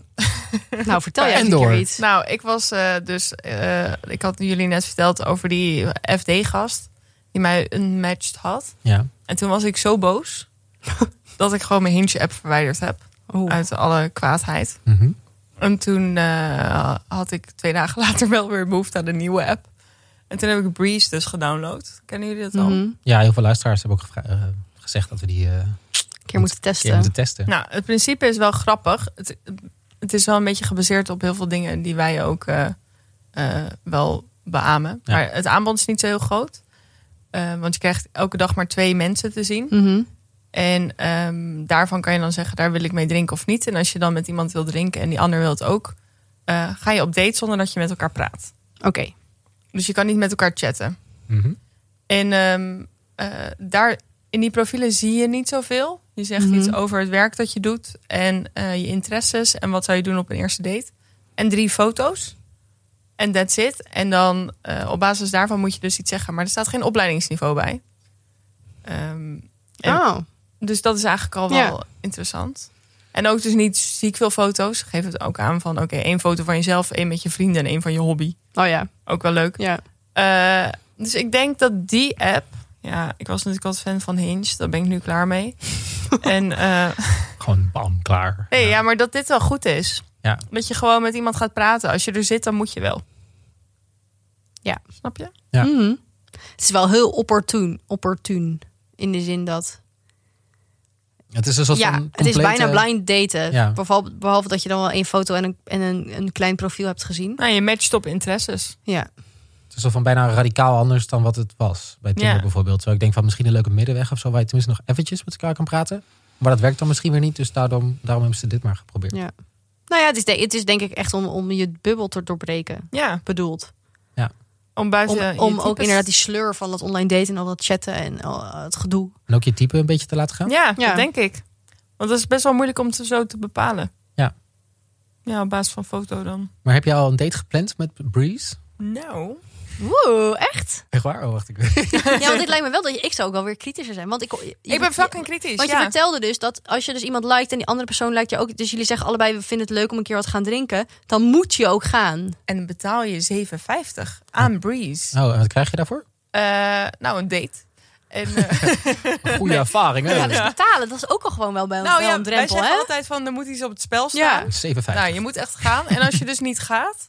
S3: Nou, vertel jij
S2: En
S3: een keer
S2: door.
S3: iets.
S1: nou, ik was eh, dus, eh, ik had jullie net verteld over die FD-gast die mij unmatched had.
S2: Ja.
S1: En toen was ik zo boos dat ik gewoon mijn Hinge-app verwijderd heb.
S3: Oeh.
S1: Uit alle kwaadheid.
S2: Mhm.
S1: En toen eh, had ik twee dagen later wel weer behoefte aan een nieuwe app. En toen heb ik Breeze dus gedownload. Kennen jullie dat al?
S3: Mhm.
S2: Ja, heel veel luisteraars hebben ook gevra- eh, gezegd dat we die eh,
S3: Een keer moeten
S2: keer
S3: testen.
S2: moeten testen.
S1: Nou, het principe is wel grappig. Het, het is wel een beetje gebaseerd op heel veel dingen die wij ook eh, eh, wel beamen.
S2: Ja.
S1: Maar het aanbod is niet zo heel groot. Eh, want je krijgt elke dag maar twee mensen te zien.
S3: Mhm.
S1: En ehm, daarvan kan je dan zeggen, daar wil ik mee drinken of niet. En als je dan met iemand wil drinken en die ander wil het ook... eh, ga je op date zonder dat je met elkaar praat.
S3: Oké.
S1: Dus je kan niet met elkaar chatten.
S2: Mhm.
S1: En ehm, eh, daar in die profielen zie je niet zoveel. Je zegt
S3: Mhm.
S1: iets over het werk dat je doet en eh, je interesses en wat zou je doen op een eerste date. En drie foto's. En that's it. En dan eh, op basis daarvan moet je dus iets zeggen. Maar er staat geen opleidingsniveau bij. Ehm, En-
S3: Oh.
S1: dus dat is eigenlijk al wel interessant. En ook dus niet ziek veel foto's. Geef het ook aan van oké, één foto van jezelf, één met je vrienden en één van je hobby.
S3: oh ja.
S1: Ook wel leuk.
S3: Ja.
S1: Eh, dus ik denk dat die app. Ja, ik was natuurlijk altijd fan van Hinge. Daar ben ik nu klaar mee. en eh,
S2: Gewoon bam, klaar.
S1: nee, ja, maar dat dit wel goed is.
S2: Ja.
S1: Dat je gewoon met iemand gaat praten. Als je er zit, dan moet je wel.
S3: Ja.
S1: Snap je?
S2: Ja.
S3: Mhm. Het is wel heel opportun. Opportun. In de zin dat.
S2: Het is een soort
S3: ja,
S2: van
S3: het is
S2: complete-
S3: bijna blind daten.
S2: Ja.
S3: Behalve, behalve dat je dan wel één foto en, een, en een, een klein profiel hebt gezien.
S1: Nou, je matcht op interesses.
S3: Ja.
S2: Het is een soort van bijna radicaal anders dan wat het was. Bij Tinder
S1: Ja.
S2: bijvoorbeeld. Terwijl ik denk van misschien een leuke middenweg of zo. Waar je tenminste nog eventjes met elkaar kan praten. Maar dat werkt dan misschien weer niet. Dus daarom, daarom hebben ze dit maar geprobeerd.
S3: ja. Nou ja, het is, de- het is denk ik echt om, om je bubbel te doorbreken.
S1: Ja.
S3: Bedoeld.
S1: Om buiten.
S3: Om,
S1: je
S3: om ook
S1: types-
S3: inderdaad die sleur van dat online daten en al dat chatten en al het gedoe.
S2: En ook je type een beetje te laten gaan.
S1: Ja,
S3: Ja.
S1: dat denk ik. Want dat is best wel moeilijk om te zo te bepalen.
S2: Ja.
S1: Ja, op basis van foto dan.
S2: Maar heb je al een date gepland met Breeze?
S1: Nou.
S3: Oeh, echt?
S2: Echt waar? Oh, wacht. Ik...
S3: Ja, want dit lijkt me wel dat je, ik zou ook wel weer kritischer zijn. Want ik, je-
S1: Ik ben fucking
S3: je-
S1: kritisch.
S3: Want
S1: ja.
S3: je vertelde dus dat als je dus iemand liked en die andere persoon liked je ook. Dus jullie zeggen allebei we vinden het leuk om een keer wat te gaan drinken. Dan moet je ook gaan.
S1: En dan betaal je 7,50 aan Breeze.
S2: Oh, en wat krijg je daarvoor?
S1: Eh, nou, een date. En, eh,
S2: Een Goede ervaring. Hè?
S3: Ja, dus betalen, dat is ook al gewoon wel bij
S1: nou
S3: wel
S1: ja,
S3: een
S1: wij
S3: drempel,
S1: zeggen
S3: hè?
S1: altijd van, er moet iets op het spel staan.
S2: 57.
S1: Nou, je moet echt gaan. En als je dus niet gaat,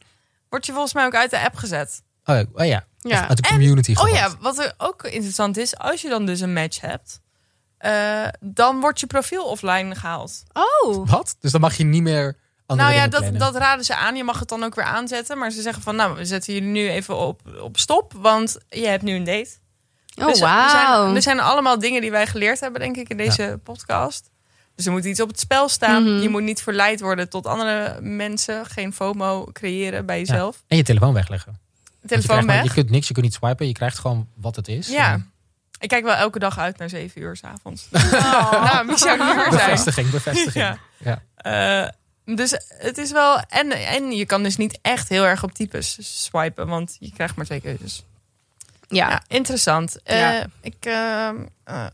S1: word je volgens mij ook uit de app gezet.
S2: Oh, ja. oh ja.
S3: Ja.
S2: Echt Uit de
S1: En-
S2: community
S1: Oh
S2: gehoord.
S1: ja, wat er ook interessant is, als je dan dus een match hebt, eh, dan wordt je profiel offline gehaald.
S3: Oh,
S2: Wat? Dus dan mag je niet meer andere
S1: nou ja,
S2: dingen
S1: dat,
S2: plannen.
S1: dat raden ze aan. Je mag het dan ook weer aanzetten. Maar ze zeggen van, nou, we zetten jullie nu even op, op stop, want je hebt nu een date.
S3: oh
S1: Dus er,
S3: wauw.
S1: zijn, er zijn allemaal dingen die wij geleerd hebben, denk ik, in deze podcast. Dus er moet iets op het spel staan.
S3: Mhm.
S1: Je moet niet verleid worden tot andere mensen. Geen FOMO creëren bij jezelf.
S2: En je telefoon wegleggen. Want je,
S1: Telefoon
S2: krijgt gewoon-
S1: weg.
S2: je kunt niks, je kunt niet swipen. Je krijgt gewoon wat het is.
S1: Ja.
S2: En
S1: Ik kijk wel elke dag uit naar zeven uur s'avonds.
S3: Oh.
S1: Nou, wie zou het meer zijn?
S2: Bevestiging, bevestiging.
S1: Ja.
S2: Ja.
S1: Eh, dus het is wel... En, en je kan dus niet echt heel erg op types swipen. Want je krijgt maar twee keuzes. Ja,
S3: Ja,
S1: interessant. Eh,
S3: Ja.
S1: Ik eh, eh,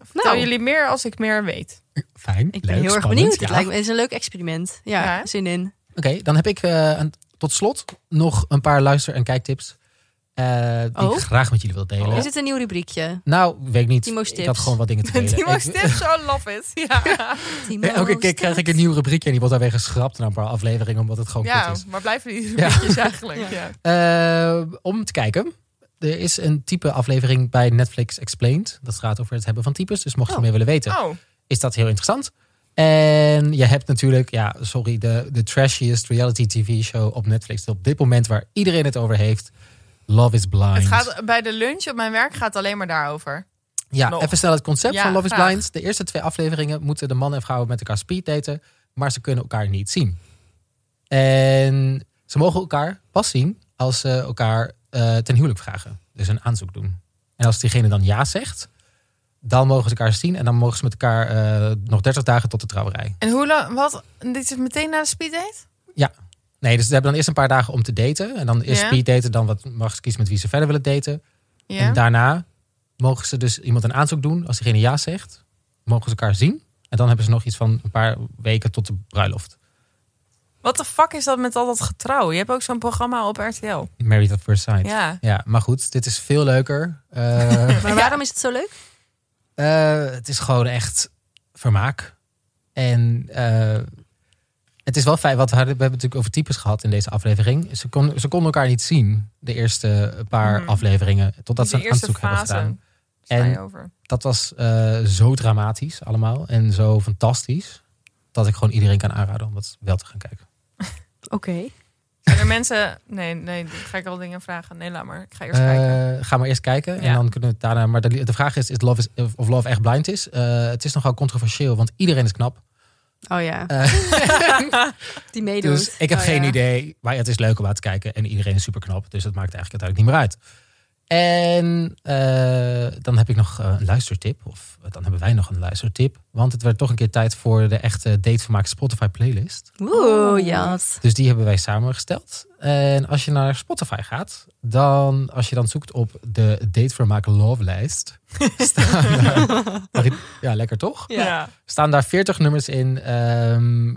S1: vertel
S3: Nou.
S1: jullie meer als ik meer weet.
S2: Fijn,
S3: ik
S2: leuk,
S3: ben heel erg
S2: spannend,
S3: benieuwd.
S2: ja.
S3: Het lijkt me het is een leuk experiment. Ja,
S1: Ja.
S3: zin in.
S2: Oké, dan heb ik eh, een- tot slot nog een paar luister- en kijktips. eh, die
S3: Oh.
S2: ik graag met jullie wil delen.
S3: Is het een nieuw rubriekje?
S2: Nou, weet ik niet.
S3: Timo's
S2: Ik had
S3: tips.
S2: gewoon wat dingen te delen.
S1: Timo's
S2: Ik-
S1: tips, oh love it. Ja.
S3: Timo's
S2: Elke keer krijg ik een nieuw rubriekje en die wordt dan weer geschrapt na een paar afleveringen, omdat het gewoon
S1: Ja,
S2: kut Oh, is.
S1: maar blijven die
S2: Ja.
S1: rubriekjes eigenlijk? Ja.
S2: Eh, om te kijken. Er is een type aflevering bij Netflix Explained. Dat gaat over het hebben van types. Dus mocht je
S3: Oh.
S2: meer willen weten,
S1: Oh,
S2: is dat heel interessant. En je hebt natuurlijk, ja, sorry, de, de trashiest reality TV show op Netflix op dit moment waar iedereen het over heeft. Love is Blind.
S1: het gaat bij de lunch op mijn werk gaat alleen maar daarover.
S2: ja,
S1: nog.
S2: even snel het concept
S1: Ja,
S2: van Love is
S1: graag.
S2: Blind. De eerste twee afleveringen moeten de man en vrouw met elkaar speeddaten, maar ze kunnen elkaar niet zien. En ze mogen elkaar pas zien als ze elkaar eh, ten huwelijk vragen. Dus een aanzoek doen. En als diegene dan ja zegt, dan mogen ze elkaar zien en dan mogen ze met elkaar eh, nog 30 dagen tot de trouwerij.
S1: En hoe lang? Wat? Dit is meteen na de speeddate?
S2: Nee, dus ze hebben dan eerst een paar dagen om te daten. En dan eerst
S1: Ja.
S2: speed daten, dan wat mag ze kiezen met wie ze verder willen daten.
S1: Ja.
S2: En daarna mogen ze dus iemand een aanzoek doen. Als diegene ja zegt, mogen ze elkaar zien. En dan hebben ze nog iets van een paar weken tot de bruiloft.
S1: Wat de fuck is dat met al dat getrouw? Je hebt ook zo'n programma op RTL.
S2: Married at First Sight.
S1: Ja.
S2: maar goed, dit is veel leuker. Eh,
S3: Maar waarom is het zo leuk?
S2: eh, het is gewoon echt vermaak. En eh, Het is wel fijn, wat we hadden- we hebben het natuurlijk over types gehad in deze aflevering. Ze, kon, ze konden elkaar niet zien, de eerste paar
S1: Mhm.
S2: afleveringen, totdat
S1: Dus
S2: ze een
S1: de eerste
S2: aanzoek hebben
S1: fase.
S2: gedaan.
S1: sta je
S2: En-
S1: over.
S2: dat was eh, zo dramatisch allemaal en zo fantastisch dat ik gewoon iedereen kan aanraden om dat wel te gaan kijken.
S3: Oké.
S1: Zijn er mensen... Nee, nee, ik ga ik al dingen vragen. Nee, laat maar. Ik ga eerst kijken.
S2: Eh, ga maar eerst kijken en
S1: Ja.
S2: dan kunnen we het daarna. Maar de, de vraag is, is love is of love echt blind is. Eh, het is nogal controversieel, want iedereen is knap.
S3: Oh ja,
S2: Eh,
S1: Eh,
S3: die meedoet.
S2: dus ik heb
S3: Oh
S2: geen
S3: ja.
S2: idee, maar ja, het is leuk om aan te kijken en iedereen is super knap, dus dat maakt eigenlijk uiteindelijk niet meer uit. En eh, dan heb ik nog eh, een luistertip, of eh, dan hebben wij nog een luistertip, want het werd toch een keer tijd voor de echte datevermaak Spotify playlist.
S3: Oeh, jas.
S2: Dus die hebben wij samengesteld. En als je naar Spotify gaat, dan als je dan zoekt op de Datevermaak Love lijst. staan daar- ja, lekker toch?
S3: Ja.
S2: Staan daar 40 nummers in ehm,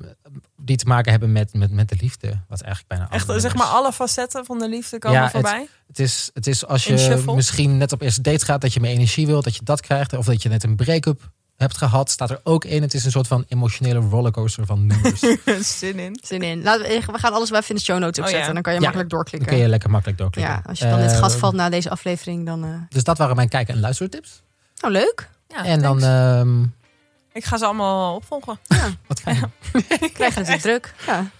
S2: die te maken hebben met, met, met de liefde. Wat eigenlijk bijna alle
S1: Echt, zeg
S2: nummers-
S1: maar, alle facetten van de liefde komen
S2: Oh, Ja, het-
S1: voorbij.
S2: Het is, het is als
S1: In
S2: je
S1: shuffle.
S2: misschien net op eerste date gaat, dat je meer energie wilt, dat je dat krijgt. Of dat je net een break-up hebt gehad, staat er ook in. Het is een soort van emotionele rollercoaster van nummers.
S1: Zin in.
S3: Zin in. Laten we, we gaan alles wel even in de show notes
S1: Oh,
S3: opzetten.
S1: ja.
S3: Dan kan je
S2: Ja.
S3: makkelijk
S2: Dan
S3: doorklikken.
S2: kun je lekker makkelijk doorklikken.
S3: Ja, als je dan in het gat
S2: Eh,
S3: valt na deze aflevering, dan... eh,
S2: Dus dat waren mijn kijken en luistertips.
S3: Nou, leuk.
S1: Ja,
S2: en dan,
S1: Ah, thanks.
S2: ehm,
S1: Ik ga ze allemaal opvolgen.
S2: wat fijn.
S3: Ik krijg het weer druk. Ja.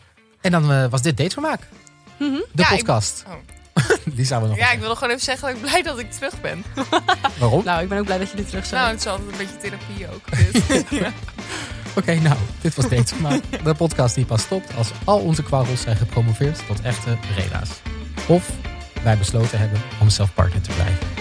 S2: En dan eh, was dit Datevermaak. De
S1: Ja, ik- oh.
S2: podcast. Die zouden we nog
S1: Ja, ik wilde gewoon even zeggen dat ik blij dat ik terug ben.
S2: Waarom?
S3: Nou, ik ben ook blij dat jullie terug zijn.
S1: Nou, het is altijd een beetje therapie ook. Dus. ja.
S2: Oké, nou, dit was Datevermaak. de podcast die pas stopt als al onze kwarrels zijn gepromoveerd tot echte reda's. Of wij besloten hebben om zelf partner te blijven.